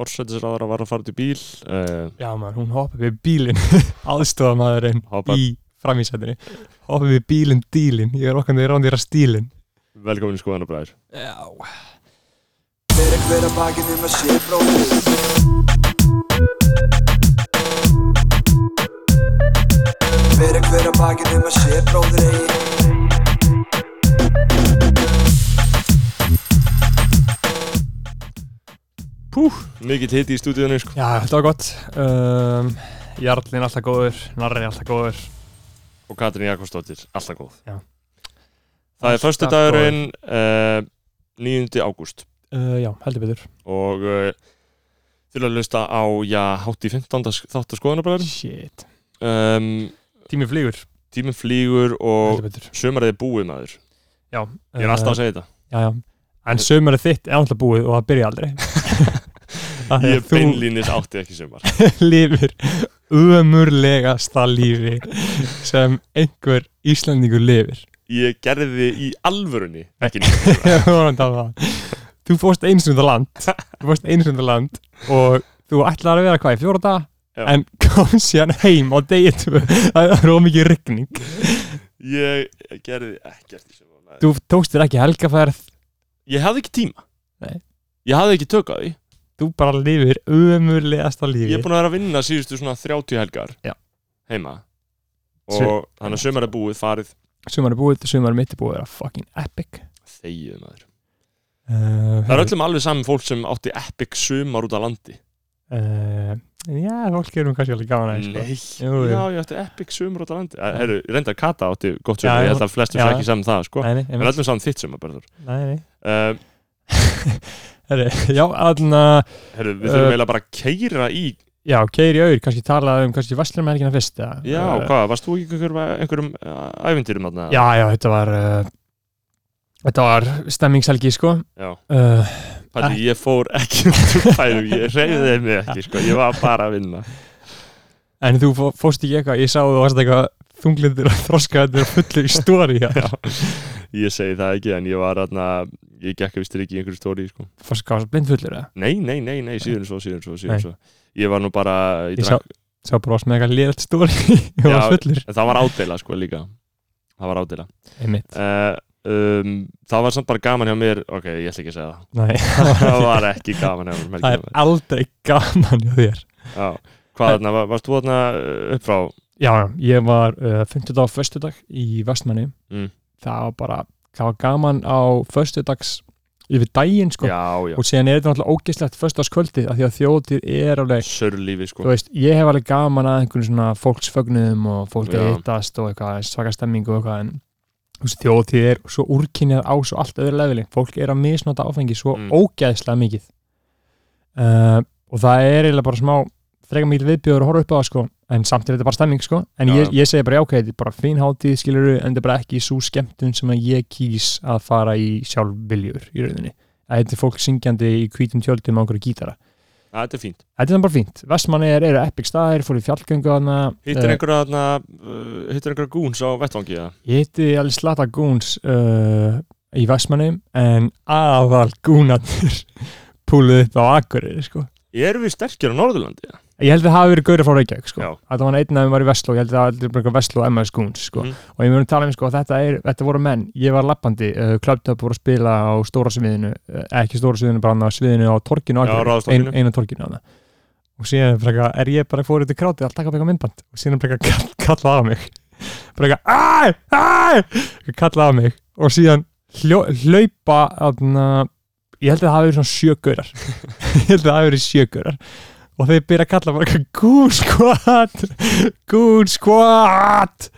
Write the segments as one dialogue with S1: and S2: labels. S1: forsætisráðara var að fara til bíl uh,
S2: Já mann, hún hoppa við bílinn aðstofamæðurinn
S1: Hoppar.
S2: í framísættinni hoppa við bílinn dílinn ég er okkar með rándýra stílinn
S1: velkomin í skoðanabræður
S2: Já
S3: Fyrir hver að baki nema sé bróðir Fyrir hver að baki nema sé bróðir eigi
S1: mikill hiti í stúdíunni sko.
S2: Já, þetta var gott um, Jarlinn alltaf góður, Narrinn alltaf góður
S1: og Katrín Jakobsdóttir, alltaf góð
S2: Já.
S1: það er
S2: Alltaf
S1: förstu dagurinn uh, 9. ágúst
S2: uh, Já, heldur betur
S1: og uh, til að lusta á já, hátt í 15. þáttu skoðanabræður
S2: Shit
S1: um,
S2: Tími flýgur,
S1: tíminn flýgur og
S2: heldur betur
S1: sömarið er búið maður
S2: Já
S1: ég er alltaf að segja þetta
S2: Já, já En sömur þitt er alltaf búið og það byrja aldrei Þannig
S1: ég
S2: að Eh, þú
S1: beinlínis átti ekki sömar
S2: lifir umurlegasta lífi sem einhver Íslandingur lifir
S1: ég gerði í alvörunni ekki
S2: Ég var að tala um það. Þú fórst einu sinni út á land Þú fórst einu sinni út á land og þú ætlaði að vera hvað í fjóra dag
S1: Já.
S2: en kom síðan heim á degi tvö það var ómikið rigning
S1: ég gerði ekkert í sömar maður.
S2: þú tókst þér ekki helgafærð
S1: ég hafði ekki tíma
S2: Nei.
S1: ég hafði ekki tök á því
S2: þú bara lifir umurlegasta lífi
S1: ég er búin að vera að vinna síðustu svona 30 helgar
S2: Já.
S1: heima og
S2: Sve-
S1: þannig að sömar er búið farið
S2: sumar er búið, sumar er mitt er búið að vera fucking epic
S1: þegið maður
S2: uh,
S1: það er öllum alveg saman fólk sem átti epic sömar út á landi
S2: uh, já, fólk erum kannski alveg gaman að því,
S1: nei,
S2: sko. Jú, jú.
S1: já ég átti epic sömar út á landi Eh, herru, reyndar Kata átti gott
S2: Já,
S1: sömar,
S2: já.
S1: ég held að flestum
S2: Já.
S1: fækki saman það
S2: sko.
S1: sko,
S2: nei, nei,
S1: en
S2: einmitt.
S1: öllum saman þitt sömar Berður.
S2: nei, nei.
S1: Eh,
S2: Herri, já, allan
S1: herru, við
S2: Eh,
S1: þurfum eiginlega bara að keira í
S2: já, keiri auður, kannski tala um kannski vestlum helgina fyrst eða,
S1: já,
S2: eh,
S1: hvað, varst þú ekki í einhverjum, einhverjum eh, ævintýrum þarna?
S2: já, já, þetta var uh, þetta var stemmingshelgi sko
S1: já.
S2: uh,
S1: Patti, ég fór ekki út úr bænum, ég reyðiði mig ekki, sko, ég var bara að vinna.
S2: en þú fó- fórst ekki eitthvað, ég sá þú varst eitthvað þunglindur og þroskaður og fullur í stóri
S1: Já. Ég segi það ekki, en ég var aðna, ég gekk að vistir ekki í einhverju stóri, sko.
S2: fórst hvað, blindfullur eða
S1: Nei, nei, nei, nei, síðan svo, síðan svo, síðan
S2: Nei.
S1: svo. Ég var nú bara, ég
S2: Ég sá-
S1: drakk,
S2: sá bara oss með eitthvað liðalt stóri og
S1: Já.
S2: var fullur
S1: en það var ádeila, sko, líka. Það var ádeila.
S2: einmitt,
S1: Uh, um, það var samt bara gaman hjá mér, ok, ég ætla ekki að segja það.
S2: nei,
S1: það var ekki gaman hjá mér,
S2: það er
S1: melgum.
S2: aldrei gaman hjá þér
S1: Já, hvað þarna, var- varst þú þarna uh, upp frá?
S2: já, já, ég var uh, 50 dag og föstudag í Vestmanni
S1: Mm.
S2: það var bara, það var gaman á föstudags yfir daginn sko
S1: Já, já,
S2: og síðan er þetta náttúrulega ógislegt föstudagskvöldi af því að þjóðtíð er alveg
S1: sörlífi, sko.
S2: þú veist, ég hef alveg gaman að einhvern svona fólksfögnuðum og fólk að
S1: Já.
S2: hittast og eitthvað svaka stemmingu og eitthvað en þú veist, þjóðtíð er svo úrkynnið á svo allt öðru leveli, fólk er að misnota áfengi svo
S1: Mm.
S2: ógæðslega mikið uh, og það er eiginlega bara smá þrega mikið viðbjóður að horfa upp á það sko en samt er þetta bara stemming sko en
S1: Já,
S2: ég,
S1: já.
S2: ég segi bara já ok, þetta er bara fín hátíð skilur en þetta er bara ekki svo skemmtun sem að ég kýs að fara í sjálf viljur í rauninni, að þetta er fólk syngjandi í hvítum tjöldum á einhverju gítara
S1: Já, þetta er fínt.
S2: Þetta er bara fínt. Vestmannegar eru epic staðir, fór í fjallgöngu þarna.
S1: Hittir
S2: Eh,
S1: einhverja þarna, uh, hittir einhverja gúns á vettvangi eða?
S2: Ég hitti alveg slata gúns uh, í Vestmannum, en aðal gúnarnir púluð upp á Akureyri, sko.
S1: Erum við sterkir á Norðurlandi? eða?
S2: Ég held að það hafi verið gaurið frá Reykjavík, sko.
S1: Já.
S2: Þetta var einn af þeim var í Vestló, ég held að það var bara Vestló og MS Gúns, sko.
S1: Mhm.
S2: Og ég mjög tala um, sko, að þetta, er, þetta voru menn. Ég var lappandi, uh, klöptöp voru að spila á stóra sviðinu, uh, ekki stóra sviðinu, bara annað sviðinu á torkinu, á
S1: Já,
S2: Akureyri,
S1: Ráðhústorginu.
S2: ein, eina torkinu þarna. Og síðan bara, eitthvað, er ég bara fórið til krátið að taka upp eitthvað myndband og síðan bara eitthvað kall, kallað á mig. Bara eitthvað, æ, æ, kallað á mig og síðan hljó, hlaupa, þarna, ég held að það hafi verið svona sjögaurar. ég held að það hafi verið sjögaurar og þeir byrja að kalla bara eitthvað Goon Squad Goon Squad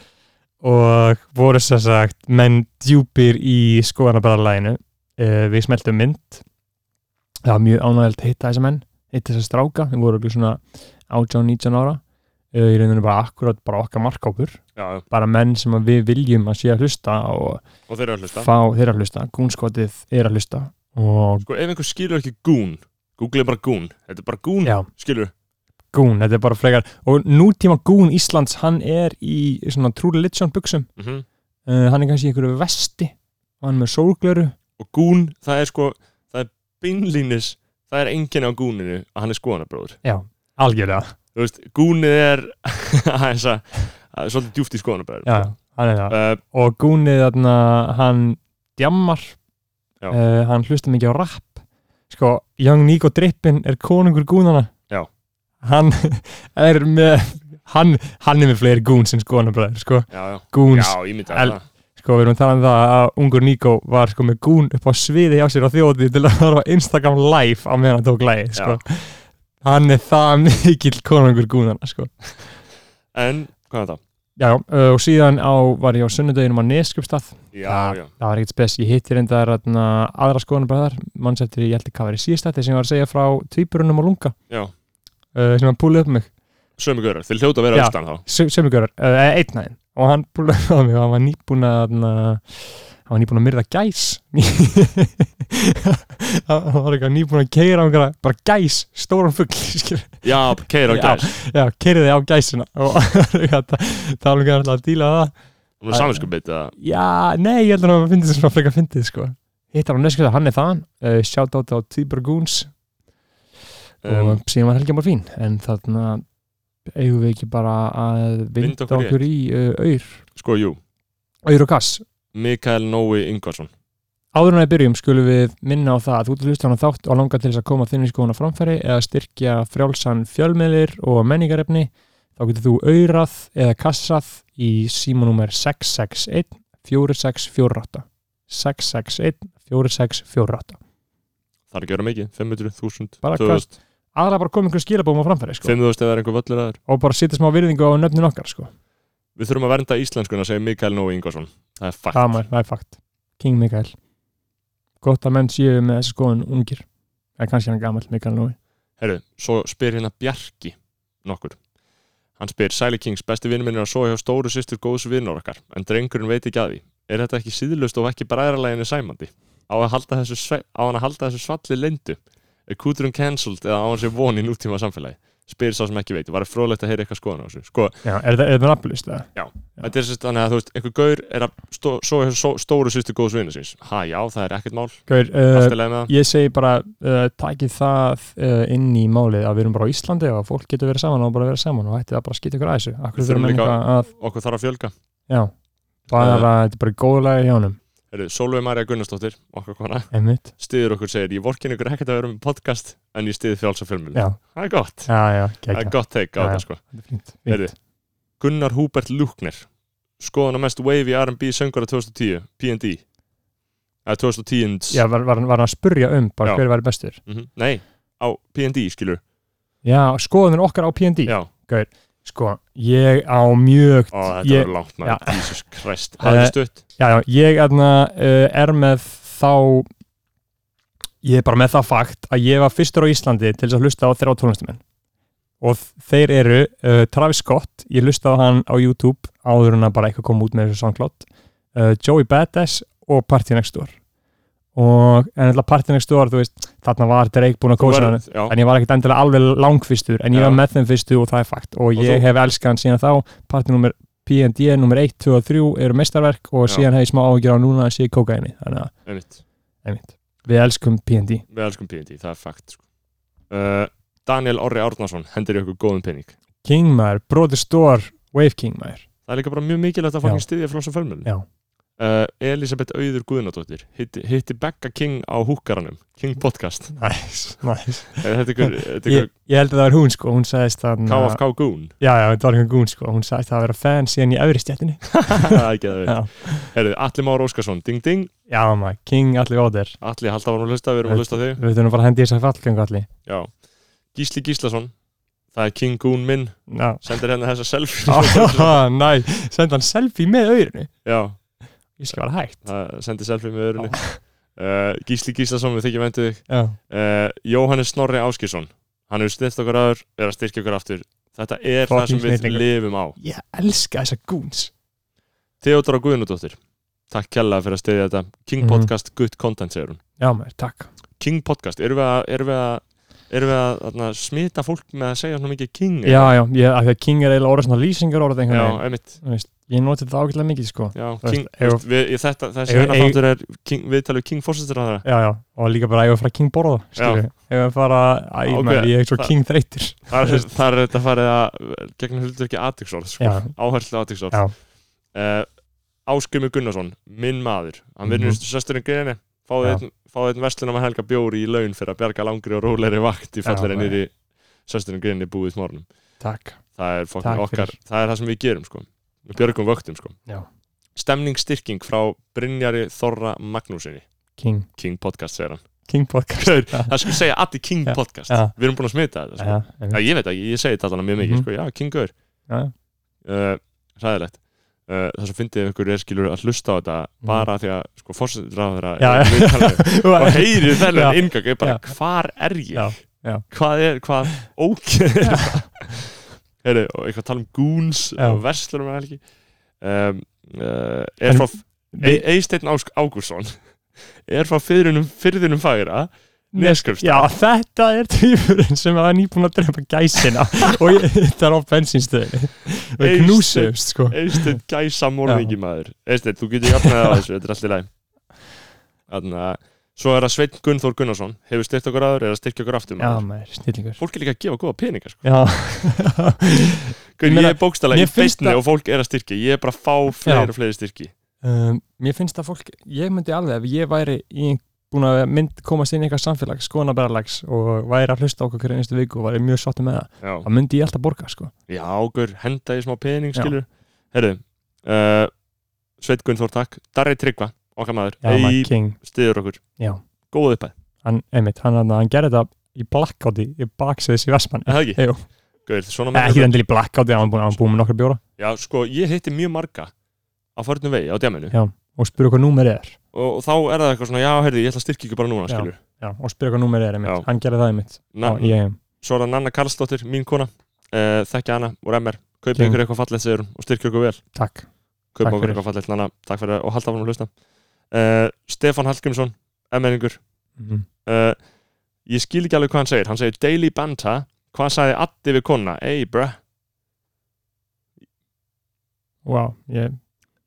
S2: og voru sem sagt menn djúpir í skoðanabræðarlæginu uh, við smeltum mynd það var mjög ánægilegt að hitta þessa menn hitta þessa stráka, þeir voru okkur svona 18-19 ára uh, í rauninu bara akkurat bara okkar markkópur
S1: Já, já.
S2: bara menn sem að við viljum að sé að hlusta og
S1: og þeir eru að hlusta.
S2: fá þeirra að hlusta Goon Squadið er að hlusta og
S1: Sko, ef einhver skilur ekki gún, googlið bara gún. Þetta er bara gún,
S2: já,
S1: skilur.
S2: Goon, þetta er bara frekar og nútíma Goon Íslands, hann er í svona True Religion buksum
S1: Mm -hmm.
S2: uh, hann er kannski í einhverju vesti og hann er með sólglöru
S1: Og gún, það er sko, það er beinlínis, það er enginn á gúninu að hann er skoðanabróður
S2: já, algjörlega
S1: þú veist, gúnið er aðeins að að- svolítið djúft í skoðanabræður
S2: já, hann er það
S1: uh,
S2: og Gúnið þarna, hann djammar
S1: Já.
S2: uh, hann hlusta mikið á rap sko, Young Nico Drippin er konungur Gúnana
S1: Já.
S2: hann er með hann, hann er með fleiri Gún sem skoðanabræður sko,
S1: já, já,
S2: Gúns
S1: já, ég myndi
S2: El-
S1: að það
S2: sko, við erum talað um það að ungur Nico var sko með gún upp á sviði hjá sér á þjóti til að horfa á Instagram live á meðan hann tók lægi, sko hann er það mikill konungur gúnana, sko
S1: en, hvað er það?
S2: já, já, ö, og síðan á, var ég á sunnudeginum á Neskjöpstað,
S1: já,
S2: Það-
S1: já,
S2: það var ekkert spes, ég hitti reyndar þarna, aðra skoðanabræðar, manns eftir ég held ekki hvað verið síðast þetta sem ég var að segja frá tvíburunum og lunga,
S1: já,
S2: uh, sem hann púlið upp á mig
S1: sömu görar, þeir hljóta að vera
S2: Já.
S1: austan þá
S2: sömugörar, uh, einn aðeins og hann púlaði á mig og hann var nýbúin að þarna, hann var nýbúin að myrða gæs hann var eitthvað nýbúin að keira einhverja, bara gæs, stóran fugl skil.
S1: já, keira á
S2: Já.
S1: gæs,
S2: já, keiriði á gæsina og það var alveg alltaf að díla við það
S1: það var saminskupið það
S2: já, nei, ég held að hann finnst þessum að frekar fyndið sko. hittar hann neskjöld að hann er þaðan uh, shout out á Týbur Goons
S1: um,
S2: og síðan var Helgi Mór fín en þarna eigum við ekki bara að vinda
S1: Vinda okkur
S2: okkur,
S1: í
S2: í uh, aur,
S1: sko, jú,
S2: aur og kass
S1: Mikael Nói Ingvarsson
S2: Áður en að byrjum skulum við minna á það að þú ert hlustan á þátt og langar til þess að koma þinni skoðun á framfæri eða styrkja frjálsan fjölmiðlir og menningarefni þá getur þú aurað eða kassað í símanúmer 661 4648 661 4648
S1: það er að gera mikið, 500, 1000,
S2: Bara sko.
S1: 2000
S2: Aðra bara koma ykkur skilabóum á framfæri sko
S1: 5000 eða einhver völlur aður
S2: og bara setja smá virðingu á nöfnin okkar sko
S1: við þurfum að vernda íslenskuna, segir Mikael Nói Ingvarsson það er fakt,
S2: Það maður, það er fakt King Mikael Gott að menn séu með þessi skoðun ungir eða kannski hann er gamall Mikael núi
S1: Herru, svo spyr hérna Bjarki nokkur. Hann spyr Sæli Kings, besti vinnur minn er að sofa hjá stóru sýstur góðs vinnur okkar, en drengurinn veit ekki að því. Er þetta ekki síðlust og ekki bræðraleginu sæmandi? Á, að halda þessu, sve- á hann að halda þessu svalli leyndu? Er kúturinn cancelled eða á hann sér von í nútíma samfélagi? Spyr sá sem ekki veit, var fróðlegt að heyra eitthvað skoðan á þessu. Sko,
S2: Já, er það, er það nafnlist það?
S1: þetta er sérst þannig að þú veist, einhver gaur er að stó, sofa hjá só- stóru sýstur góðs vinnur síns. Ha, já, það er ekkert mál,
S2: Gaur, uh,
S1: allt er leið með það.
S2: ég segi bara uh, takið það uh, inn í málið að við erum bara á Íslandi og að fólk getur verið saman og bara verið saman og hættið að bara skita ykkur að þessu Akkur
S1: Við þurfum
S2: þurfum menn
S1: líka-
S2: eitthvað að,
S1: Okkur þarf að fjölga.
S2: já bara, þetta er bara góðlega hjá honum
S1: Herru, Solveig Marja Gunnarsdóttir, okkar kona,
S2: einmitt,
S1: stiður okkur segir ég vorkin ykkur ekkert að vera með podcast en ég stiði frjálsa fjölmjölu
S2: já,
S1: það er gott,
S2: já, já,
S1: það
S2: gegja
S1: er gott teik á
S2: Já,
S1: það
S2: já.
S1: sko
S2: Þetta er fínt,
S1: Heyrðu.
S2: fínt.
S1: Gunnar Húbert Lúknir skoðan að mest wave í R&B söngara 2010 P&D eða 2010
S2: Já, var, var, var hann að spurja um bara
S1: Já.
S2: hver væri bestur
S1: Mhm. nei, á P&D skilur
S2: Já, skoðunir okkar á P&D
S1: já,
S2: Sko, ég á mjög
S1: Ó, þetta
S2: ég,
S1: verður langt
S2: Já.
S1: maður, Jesus Christ hafði
S2: Eh,
S1: stutt,
S2: Já, já, ég erna, uh, er með þá ég er bara með það fakt að ég var fyrstur á Íslandi til þess að hlusta á þrjá tónlistamenn og þ- þeir eru uh, Travis Scott, ég hlusta á hann á YouTube áður en að bara eitthvað kom út með þessu sanglátt uh, Joey Badass og Party Next Door og en alltaf Party Next Door, þú veist þarna var Drake búin að
S1: Þú
S2: kósa
S1: verður-
S2: hann
S1: já,
S2: en ég var ekkert endilega alveg langfyrstur en ég
S1: Já.
S2: var með þeim fyrstu og það er fakt og,
S1: Og
S2: ég
S1: þú-
S2: hef elskað hann síðan þá partinúmer P&D, nummer 1, 2 og 3 eru meistarverk og
S1: Já.
S2: síðan hef ég smá áhugjur á núna að sé kókaini þannig að,
S1: einmitt
S2: einmitt, við elskum P&D
S1: við elskum P&D, það er fakt sko. uh, Daniel Orri Árnason hendur ykkur góðum pening
S2: King maður, Brody Store, Wave King maður
S1: það er líka bara mjög mikilvægt að
S2: Já.
S1: fá henni stiðja frá þessum
S2: Já.
S1: fjölmjölu uh, Elisabeth Auður Guðnadóttir hitti, hitti Becca King á húkaranum King Podcast
S2: nice, nice.
S1: Eh, þetta er ykkur- þetta er
S2: Ég,
S1: ykkur
S2: ég held að það var hún sko, hún sagðist að
S1: KFK Goon
S2: já, já, þetta var hún gún sko, hún sagðist að það vera fan síðan í öfri stjættinni
S1: það er ekki að það
S2: Já.
S1: verið Alli Már Óskarsson, ding ding
S2: já maður, King allir áður
S1: Alli Hallda varum að hlusta, við erum að hlusta á þig
S2: við þurfum bara að hendi þess að fallgöngu allir
S1: Já. Gísli Gíslason það er King Goon minn
S2: já,
S1: sendir hérna þessa selfie
S2: ah, næ, senda hann selfie með auðrinu
S1: Já,
S2: ég skal vera hægt
S1: það sendir selfie með öðrunni uh, Gísli Gíslason, við þykjum endur þig
S2: já.
S1: uh, Jóhannes Snorri Áskisson hann hefur styrkt okkur aður, er að styrkja okkur aftur þetta er það
S2: Fucking
S1: sem við
S2: snillingur.
S1: lifum á
S2: ég elska þessa gúns
S1: Theodora Guðnudóttir Takk kjærlega fyrir að styðja þetta King
S2: Mhm.
S1: Podcast, good content segir hún
S2: já maður, takk
S1: King Podcast, erum við að, erum við að erum við að þarna, smita fólk með að segja svona mikið King
S2: já, já, ég, af því að King er eiginlega orðið svona lýsingar orðið
S1: já
S2: einhvern
S1: einmitt
S2: veginn Þú veist, Ég noti þetta ágætlega mikið sko
S1: Já,
S2: Þú
S1: King,
S2: veist, ef-
S1: veist, við, ég, þetta, þessi
S2: ef-
S1: hennar
S2: ef-
S1: þáttur er King, viðtalið King Fawcettur að það
S2: Já, já, og líka bara ef við fara King borða skilju, ef við fara, æ,
S1: Ok,
S2: okay. maður, ég er svo
S1: það-
S2: King þreytir
S1: Þar er- þar er þetta farið að gegn huldur ekki aðtíksorð sko.
S2: Já.
S1: áherslu aðtíksorð
S2: Já.
S1: uh, Áskrimur Gunnarsson, minn maður hann vinnur mm
S2: Mhm.
S1: -hmm. sesturinn greiðinni fáið
S2: Já.
S1: einn, fáið einn verslunum að helga bjóri í laun fyrir að bjarga langri og rólegri vakt í
S2: Já,
S1: fallari
S2: já.
S1: nýri sesturinn greiðinni búið smórnum
S2: Takk
S1: það er,
S2: Takk
S1: fucking
S2: fyrir.
S1: okkar, það er það sem við gerum sko. við björgum vöktum sko.
S2: Já.
S1: stemningsstyrking frá Brynjari Þorra Magnúsinni
S2: King,
S1: King Podcast segir hann
S2: King podcast
S1: Gaur, það skulle segja allir King
S2: Já,
S1: Podcast
S2: já.
S1: við erum búin að smita þetta sko.
S2: Já,
S1: Já,
S2: einmitt.
S1: ég veit ekki, ég segi þetta allan mjög mikið,
S2: Mhm.
S1: sko, já, kingur
S2: já,
S1: uh, Ræðilegt uh, Það sem fyndið ykkur er skilur að hlusta á þetta bara því að, sko, fórsetráður
S2: Mhm. Já, já.
S1: og heyri
S2: Já.
S1: um- þennan ingang er bara,
S2: Já.
S1: hvar er ég?
S2: Já, já.
S1: Hvað er, hvað, ókjör Heyri, og eitthvað tala um goons
S2: Já.
S1: og verslunum og helgi um, uh, Er
S2: En-
S1: frá Eisteinn Ágúrsson er frá fyrðunum, fyrðunum fagra Neskjöfstað
S2: Já, þetta er tvífurinn sem var nýbúin að drepa gæsina og ég, þetta er á bensinstöðinni og
S1: Eysteinn.
S2: knúsust sko
S1: Einstein gæsa morðingi maður Einstein, þú getur jafnaði á þessu, þetta er allt í læg Þannig að Svo er að Sveinn Gunnþór Gunnarsson Hefur styrkt okkur aður, er að styrkja okkur aftur
S2: Já,
S1: maður
S2: maður, snillingur
S1: Fólk er líka að gefa góða peninga sko.
S2: Já,
S1: Guð,
S2: Ég
S1: Ég
S2: meina,
S1: er bókstælega
S2: mér
S1: í
S2: finnst
S1: feistni
S2: að-
S1: og fólk er að styrkja Ég er bara að fá fleiri
S2: Já.
S1: og fleiri styrki
S2: um, mér finnst að fólk, ég myndi alveg ef ég væri í, búin að mynd, komast inn í eitthvað samfélag, skoðanabæralags og væri að hlusta á okkur hverju einustu viku og væri mjög sáttu með það,
S1: Já,
S2: þá myndi ég alltaf borga sko.
S1: Já guður, henda í smá pening
S2: Já.
S1: skilur Herðu uh, Sveinn Gunnþór, takk Darri Tryggva, okkar maður
S2: Já,
S1: Ei,
S2: maður king,
S1: stiður okkur,
S2: já
S1: góð uppæð
S2: hann, einmitt, hann, hann, hann gerði þetta í blackouti, í baksviðis í Vestmann
S1: Er það ekki?
S2: Jú.
S1: Guður, svona menn
S2: ekki þendil í blackouti, hann var búin, hann var búin með nokkra bjóra
S1: Já, sko, ég hitti mjög marga á förnum vegi á djaminu
S2: og spyrir hvað númer er
S1: og, og þá er það eitthvað svona, já, heyrðu, ég ætla að styrkja ykkur bara núna,
S2: Já.
S1: skilur
S2: já, og spyrir hvað númer er, einmitt,
S1: Já.
S2: hann gerði það einmitt E
S1: Na,
S2: já, ég,
S1: Svo er það Nanna Karlsdóttir, mín kona uh, þekkja hana úr MR, kaupi
S2: King.
S1: ykkur eitthvað fallegt segir hún og styrkja ykkur vel,
S2: takk
S1: kaupi
S2: Takk
S1: okkur
S2: fyrir.
S1: eitthvað fallegt Nanna, takk fyrir og halda áfram að hlusta uh, Stefan Hallgrímsson, MR-ingur
S2: mm.
S1: uh, ég skil ekki alveg hvað hann segir hann segir Daily Banta, hvað sagði Addi við kona, ey bruh
S2: wow, ég,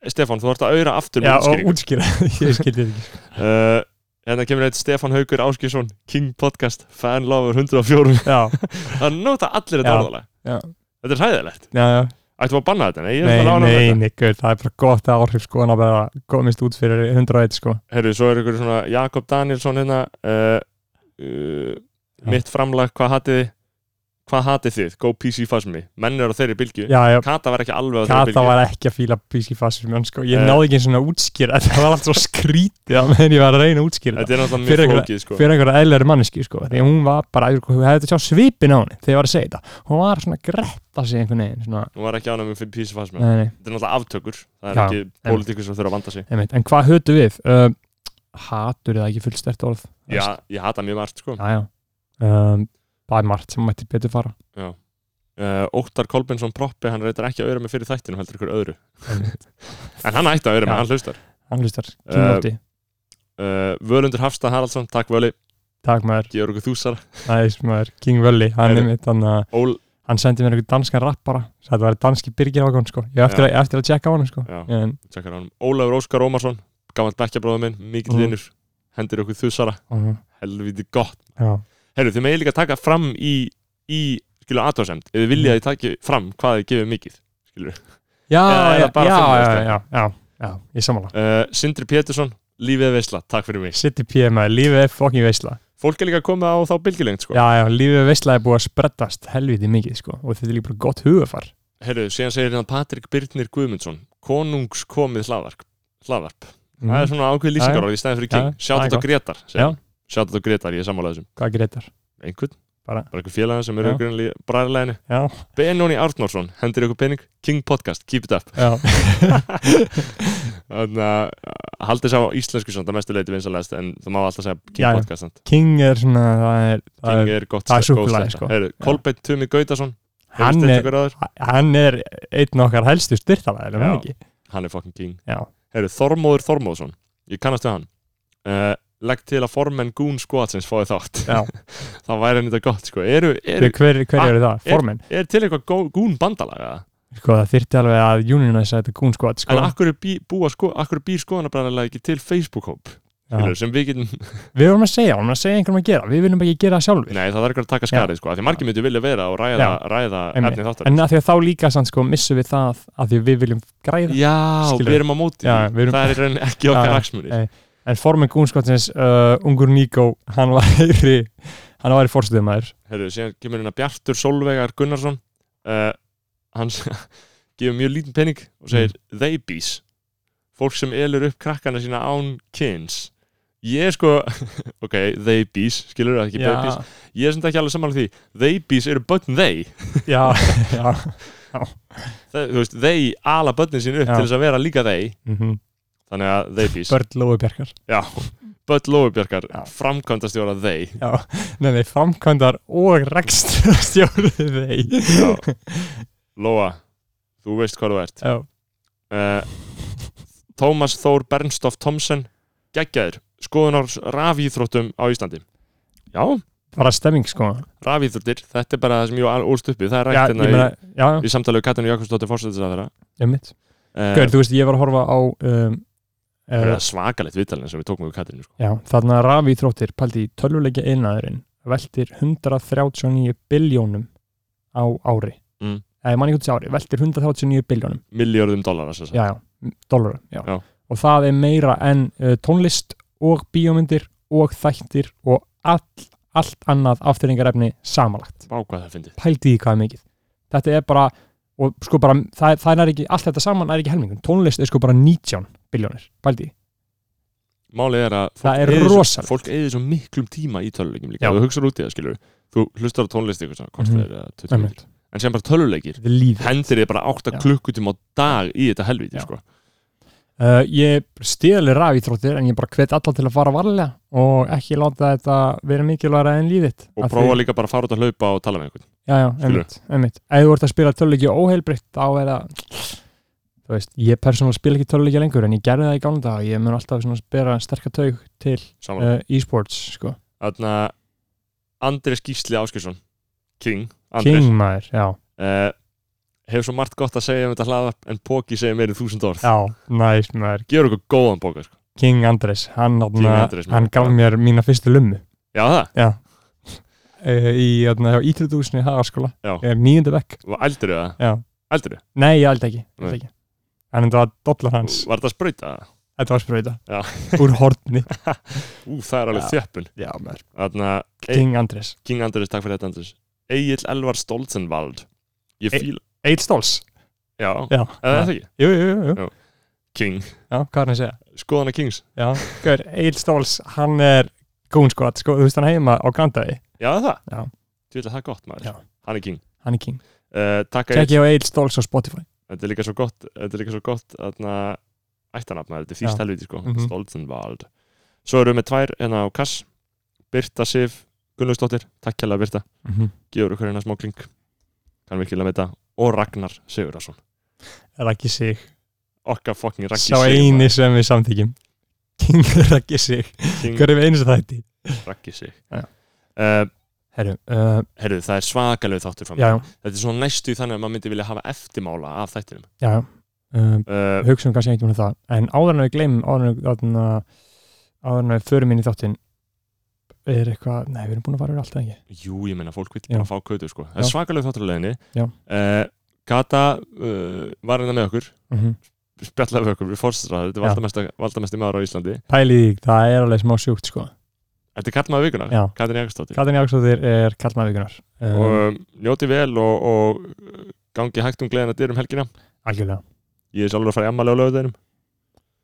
S1: Stefan, Eh, þú ert að auðra aftur með
S2: já,
S1: útskýringu.
S2: og útskýra ég skildi þetta ekki
S1: Uh, Hérna kemur eitt Stefan Haugur Áskjesson King Podcast, fanlofur 104
S2: já,
S1: Það nota allir þetta
S2: Já.
S1: orðalega
S2: Já.
S1: Þetta er hæðilegt
S2: já, já
S1: Ættum að banna þetta, nei, ég er
S2: Nei,
S1: bara lána
S2: nei,
S1: þetta
S2: nei, guð, það er bara gott að áhrif sko en að bara komist út fyrir 101 sko
S1: Herru, svo er ykkur svona Jakob Danielsson hérna uh, uh, Mitt framlag, hvað hatið þið? Hvað hatið þið? Go PC Fasmi Menn eru á þeirri bylgju
S2: Já, já,
S1: Kata var ekki alveg á þeirri
S2: Kata
S1: bylgju
S2: var ekki að fíla píski fasið mjönn sko Ég
S1: Eh.
S2: náði ekki einu svona útskýra Þetta var allt svo skrítið að meðan ég var að reyna að útskýra
S1: Þetta er náttúrulega
S2: Fyrir
S1: mjög
S2: ykkur-
S1: flókið sko.
S2: fyrir einhverja eðlæri manneski sko því að hún var bara, hún hefði þetta sjá svipin á henni þegar ég var að segja þetta, hún var svona að gretta sig einhvern veginn, svona,
S1: Hún var ekki ánægum fyrir PC Fasmi
S2: nei, nei,
S1: Þetta er náttúrulega aftökur Það er
S2: Já,
S1: ekki pólitíkur sem þurfa að vanda sig
S2: einmitt, en hvað hötu við? Uh, hatur er það ekki fullstert orð
S1: Já, ég hata mjög margt sko.
S2: já, já. Um, það er margt sem mætti betur fara
S1: uh, Óttar Kolbensson Proppi, hann reytar ekki að auðra mig fyrir þættinum heldur ykkur öðru
S2: Einmitt.
S1: En hann ætti að auðra mig,
S2: Já.
S1: hann hlustar
S2: hann hlustar,
S1: Eh.
S2: kynóti,
S1: uh, Völundur Hafstad Haraldsson, takk Völi
S2: takk maður
S1: Georg Þúsar,
S2: næs maður, King Völli, hann
S1: Heyrðu.
S2: einmitt hann, uh,
S1: Ól
S2: hann sendi mér einhvern danskan rappara sagði það væri danski Birgir Ákon sko ég á eftir,
S1: Já.
S2: að, ég á eftir að tjekka á hann sko
S1: já,
S2: en,
S1: tjekkar á honum. Ólafur Óskar Ómarsson, gammal bekkjabróður minn mikill
S2: Mhm.
S1: vinnur, hendir ykkur Þúsara
S2: uh,
S1: helviti gott,
S2: já,
S1: herru þið megið líka taka fram í, í skilu aðtóðsemd, ef þið viljið að þið taki fram hvað þið gefið mikið
S2: já,
S1: Eða er
S2: já,
S1: það bara
S2: já,
S1: fimm sko.
S2: já,
S1: dagskrá?
S2: já, já, já, ég sammála
S1: uh, Sindri Pétursson, Lífið er Veisla, takk fyrir mig
S2: City PM, lífið er fokkin veisla
S1: fólk er líka komið á þá bylgilengt sko.
S2: Já, já, lífið er veisla er búið að spreddast helviti mikið, sko, og þetta er líka bara gott hugafar
S1: herru, síðan segir hérna Patrik Birnir Guðmundsson konungskomið hlaðvarp hlaðvarp
S2: mm.
S1: Það er svona ákveð lýsingarorð í stæðin fyrir King
S2: Já,
S1: ja,
S2: já.
S1: Sjátt þetta
S2: Það er gott.
S1: Gretar
S2: Já.
S1: Sjátt þetta Gretar, ég er sammálaði þessum
S2: Hvað greitar?
S1: Einhvern,
S2: Bara.
S1: bara einhver félagar sem eru
S2: Já.
S1: grunlega bræðarleginu
S2: Já,
S1: Benóni Árnórsson, hendir ykkur pening King Podcast, keep it up
S2: já,
S1: Þannig að eh, haldið sá íslensku samt að mestu leiti vinsalegast en það má alltaf segja King
S2: Já, já.
S1: Podcast samt
S2: King er svona, það er, það
S1: King
S2: er,
S1: er gott
S2: það er
S1: góð
S2: súkkulaði,
S1: stelpa.
S2: sko.
S1: Heyrðu, Kolbeinn Tumi Gautason
S2: hann er,
S1: er,
S2: hann er einn okkar helstu styrtalæðir, er
S1: Já.
S2: hann ekki?
S1: hann er fucking King
S2: Já,
S1: Heru, Þormóður Þormóðsson, ég kannast við hann uh, Legg til að formenn Goon Squadsins fái þátt
S2: Já.
S1: Það væri henni þetta gott sko. eru, eru,
S2: hver, hver, hver
S1: Ah,
S2: eru það? Formin?
S1: er til eitthvað gó- gún bandalag eða?
S2: Sko það þyrfti alveg að unionisa þetta Goon Squad sko.
S1: En akkur, er bí, búa, sko, akkur býr skoðanabræðarlega ekki til Facebook-hóp
S2: Já.
S1: skilurðu, sem við getum,
S2: Við vorum að segja, við vorum að segja einhverjum að gera Við viljum ekki gera það sjálfur
S1: nei það þarf ekki að taka skarið sko, af því margir myndu vilja vera og ræða,
S2: Já.
S1: ræða
S2: Einmitt.
S1: efni þáttar
S2: En að því að þá líka sann sko missum við það að því að við viljum græða
S1: Já,
S2: Skilurðu.
S1: við erum á móti
S2: Já, við
S1: því.
S2: erum-
S1: það er í rauninni ekki
S2: Já,
S1: okkar
S2: já.
S1: hagsmunir
S2: Nei. En formið Goon Squadsins, uh, ungur Níko hann væri, hann væri fórstöðumæður
S1: Herru, síðan kemur hérna Bjartur Solveigar Gunnarsson uh, hann gefur mjög lítinn penning
S2: Mm.
S1: og segir they bees fólk sem elur upp krakkana sína án kyns ég er sko ok, they bees, skilur það ekki babies ég er sem þetta ekki alveg samanlega því they bees eru börn they
S2: já, já
S1: það, þú veist, they ala börnin sín upp
S2: Já.
S1: til þess að vera líka they
S2: mm
S1: þannig að they bees
S2: Börn Lói Bjarkar
S1: já, börn Lófubjarkar
S2: Já.
S1: framkvæmdastjóra they
S2: Já, nei, nei, framkvæmdar og rekststjórið þeir
S1: já. Lóa, þú veist hvað þú ert
S2: Já,
S1: uh, Tómas Þór Bernstoff Thomsen geggjaður, skoðunar rafíþróttum á Íslandi Já,
S2: bara stemming sko
S1: rafíþróttir, þetta er bara það sem ég al- ólst uppi, það er
S2: Já,
S1: rætt
S2: ég
S1: hérna
S2: meina, já,
S1: í, í samtalið Katinu Jakobsdóttir fórsættis að þeirra
S2: ég mitt Gauður, þú veist, ég var að horfa á um,
S1: Það
S2: uh,
S1: er svakalegt viðtalinn sem við tókum við Katinu sko.
S2: já, þarna rafi þróttir paldi í tölvuleikja einnaðurinn veltir 139 biljónum á ári
S1: Mm.
S2: eða ég man ekki út þessi ári, veltir 139 biljónum
S1: Milljörðum dólar
S2: já, já, m- dollarum já.
S1: Já.
S2: og það er meira en uh, tónlist og bíómyndir og þættir og all, allt annað afturringarefni samanlagt
S1: Bákvað það fyndið
S2: pældi í hvað er mikið þetta er bara, og sko bara það, það er ekki, allt þetta saman er ekki helmingun tónlist er sko bara 19 biljónir pældi í,
S1: Málið er að
S2: það er
S1: eyðir svo-
S2: rosalegt
S1: fólk eigi svo miklum tíma í töluleikjum líka
S2: Já.
S1: Þú hugsaður út í það skilur Þú hlustar á tónlist ykkur svona, mm
S2: Mhm.
S1: -hmm. En sem bara töluleikir
S2: Þetta er lífið.
S1: Hendir þið bara 8
S2: Já.
S1: klukkutíma á dag í þetta helviti
S2: Já.
S1: sko.
S2: Uh, ég stíðli rafíþróttir en ég bara hvet alla til að fara varlega og ekki láta þetta vera mikilværa en lífitt.
S1: Og prófa líka bara að fara út að hlaupa og tala með einhvern
S2: Já, já,
S1: Skilurðu?
S2: einmitt, einmitt. Ef þú ert að spila töluleiki óheilbritt þá er það, þú veist, ég persónulega spila ekki töluleiki lengur en ég gerði það í gána dag og ég mun alltaf svona spila sterka taug til
S1: Saman
S2: uh, e-sports, sko.
S1: Þannig Andrés Gísli Áskjörsson King, Andrés
S2: King maður, já.
S1: uh, Hefur svo margt gott að segja um þetta hlaðvarp En Póki segir meira en þúsund orð
S2: Já, næs maður.
S1: Gjör okkur góðan bóka sko.
S2: King Andres, hann,
S1: King
S2: hann,
S1: Andrés, maður.
S2: hann gaf mér mína fyrstu lummu
S1: Já það,
S2: uh, í ítrúdúsni hagaskóla,
S1: Já.
S2: nýjöndu vekk.
S1: eldur það
S2: Já.
S1: Eldur það,
S2: Nei, ég held ekki, held
S1: Nei.
S2: ekki. En þetta var dollar hans,
S1: var þetta að sprauta það?
S2: þetta var spröyta
S1: Já.
S2: Úr hortni
S1: Ú, það er alveg
S2: Já.
S1: þjöppun
S2: Já, maður
S1: Þannig
S2: King Andrés
S1: King Andrés, takk fyrir þetta Andrés Egil Elvar Stolzenvald Ég
S2: E-
S1: fíla,
S2: Eitt stóls
S1: já,
S2: Já,
S1: eða það ekki
S2: jú, jú, jú, jú.
S1: King,
S2: Já, hvað er hann að segja?
S1: skoðana Kings
S2: Já, hver, Eitt stóls, hann er gún sko að sko, þú veist hann heima á Grandaði
S1: Já það,
S2: Já.
S1: þú veit að það er gott maður
S2: Já.
S1: Hann er King
S2: Hann er king
S1: uh, Takk Egil,
S2: Tjekki á Eitt stóls á Spotify
S1: þetta er líka svo gott þetta er líka svo gott þarna ættanafna, þetta er
S2: Já.
S1: fyrst helviti sko
S2: Mhm.
S1: Stolzenvald svo erum við með tvær hérna á kass Birta Sif Gunnlaugsdóttir, takk hérlega Birta
S2: mm -hmm.
S1: gefur okkur hérna smá kling kann virkilega með þetta og Ragnar Sigurðarsson
S2: Raggi sig
S1: okkar fucking Raggi
S2: Sá eini sem við samþykjum King Raggi sig
S1: Sig
S2: Hver er við eins og þætti?
S1: Raggi Sig
S2: Já.
S1: uh,
S2: Herru, uh,
S1: herru það er svakalegu þáttur fram
S2: já, já,
S1: þetta er svona næstu þannig að maður myndi vilja hafa eftirmála af þættinum
S2: já um,
S1: uh,
S2: hugsaum kannski ekki um það en áður en við gleymum áður en við, áður en að- áður en við förum inn í þáttinn er eitthvað, nei við erum búin að fara yfir alltaf ekki
S1: Jú, ég meina, fólk vil
S2: Já.
S1: bara fá kötu sko. það er
S2: Já.
S1: svakalega þátturleginni
S2: Já.
S1: uh, Kata uh, var hérna með okkur
S2: mm -hmm.
S1: spjallaði við okkur, við fórstræðum þetta er
S2: Já.
S1: valdamesta, valdamesti maður á Íslandi
S2: pælið í því, það er alveg smá sjúkt sko
S1: Þetta er kallmaður vikunar,
S2: Já.
S1: Katrin Jakobsdóttir
S2: Katrin Jáksóðir er kallmaðvíkunar um,
S1: og um, njóti vel og, og uh, gangi hægt um gleðina dyrum helgina
S2: algjörlega,
S1: ég er sjálfur að fara í ammali á lögðeinum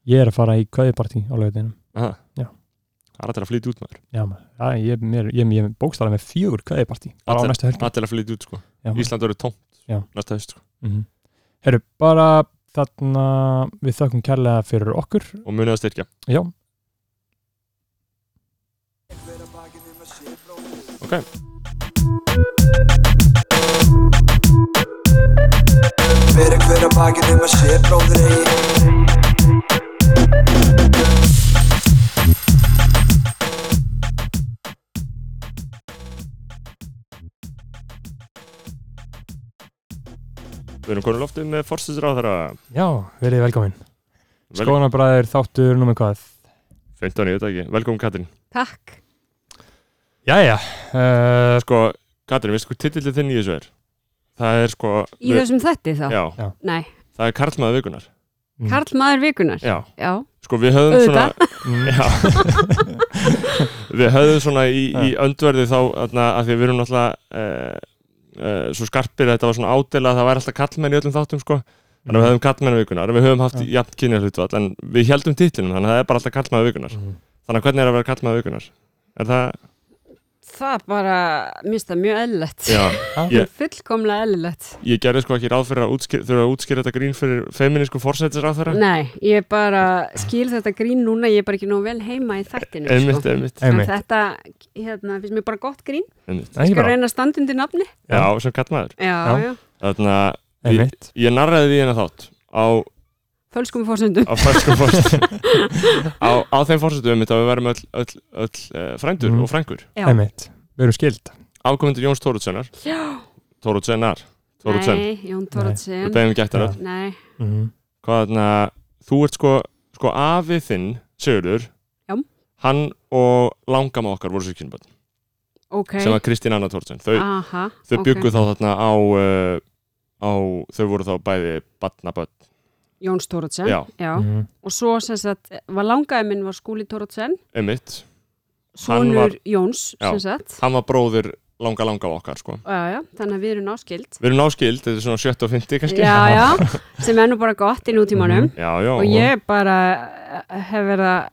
S2: ég er að fara í kveðipartí á lögutinum Já.
S1: það er allir að flytja út maður
S2: já, maður. já, ég, mér, ég, ég, ég bókstala með fjögur kveðipartí bara á
S1: Allir-
S2: næstu helgi
S1: allir að flytja út sko.
S2: Já, maður.
S1: Ísland verður tómt
S2: Já.
S1: næsta höst sko.
S2: Mhm. herru, bara þarna við þökkum kærlega fyrir okkur
S1: og munið að styrkja
S2: já,
S1: okay.
S3: Fyrir hver að baki nema sé bróðir eigi
S1: Við erum konur loftið með forstisra á þeirra
S2: Já, verið velkomin Skónabræður þáttur númer hvað
S1: 15, ég veit það ekki, velkomin Katrin
S4: Takk.
S2: Jæja uh,
S1: Sko, Katrin, veistu hvað titillið þinn í þessu er? Það er sko
S4: Í þessum þætti þá?
S1: Já,
S4: Nei,
S1: það er Karlmaður vikunar
S2: Mm.
S4: Karl maður vikunar.
S1: Já,
S4: Já,
S1: sko við höfðum svona
S4: auðvitað.
S2: mm,
S1: Já Við höfðum svona í, í
S2: Já.
S1: öndverði þá þarna, að því að við erum náttúrulega uh, uh, svo skarpir að þetta var svona ádela að það væri alltaf kallmenn í öllum þáttum sko
S2: mm,
S1: Þannig
S4: Mm.
S1: að við höfðum kallmenn vikunar, við höfum haft
S2: Já.
S1: jafn kynja hlutfall en við heldum titlinum, þannig að það er bara alltaf kallmaður vikunar
S2: Mhm.
S1: Þannig að hvernig er að vera kallmaður vikunar? Er það,
S4: Það er bara, minnst það mjög eðlilegt.
S1: já, ég-
S4: Fullkomlega eðlilegt.
S1: ég gerði sko ekki ráð fyrir að útskýra, þurfa að útskýra þetta grín fyrir feminísku fórsættis á þeirra
S4: Nei, ég bara skil þetta grín núna, ég er bara ekki nú vel heima í þættinu.
S1: Einmitt,
S4: sko.
S1: einmitt,
S4: En
S2: Einmitt,
S4: þetta, hérna, finnst mér bara gott grín.
S1: einmitt
S2: Nei, ekki
S4: Skal
S2: bara
S4: reyna að standa undir nafni?
S1: Já, sem kallmaður
S4: Já,
S2: Já.
S4: já.
S1: Þannig að
S2: Einmitt
S1: ég narraði því hennar þátt á
S4: Fölskum fórsöndum.
S1: á frænskum fórsetum á, á þeim fórsetum einmitt að við verðum öll, öll, öll uh, frændur
S2: Mhm.
S1: og frængur
S4: Já.
S2: Einmitt Við erum skild
S1: afkomendur Jóns Tóruðsennar
S4: Já.
S1: Tóruðsennar, Tóruðsen,
S4: Nei, Jón
S1: við
S4: Tóruðsen.
S1: beðum gættar öll
S4: Nei,
S2: mm.
S1: hvað þarna, þú ert sko sko afi þinn, Sigurður
S4: Já.
S1: hann og langama okkar voru sérkynbönn
S4: ok.
S1: sem var Kristín Anna Tóruðsen þau,
S4: Aha,
S1: þau
S4: Ah, ok.
S1: byggu þá þarna á, uh, á þau voru þá bæði batnabönn,
S4: Jón Tóruðsen.
S1: já,
S4: Já.
S2: mm.
S4: Og svo sem sagt, var langaði minn var Skúli Tóruðsen,
S1: einmitt Hann
S4: sonur
S1: var-
S4: Jóns
S1: Já.
S4: sem sagt.
S1: hann var bróðir langa langa okkar sko
S4: Já, já, þannig að við erum náskild.
S1: við erum náskild, þetta er svona 70 og 50 kannski
S4: Já, já, sem er nú bara gott í nútímanum.
S1: já, já.
S4: Og ég bara eh, hef verið að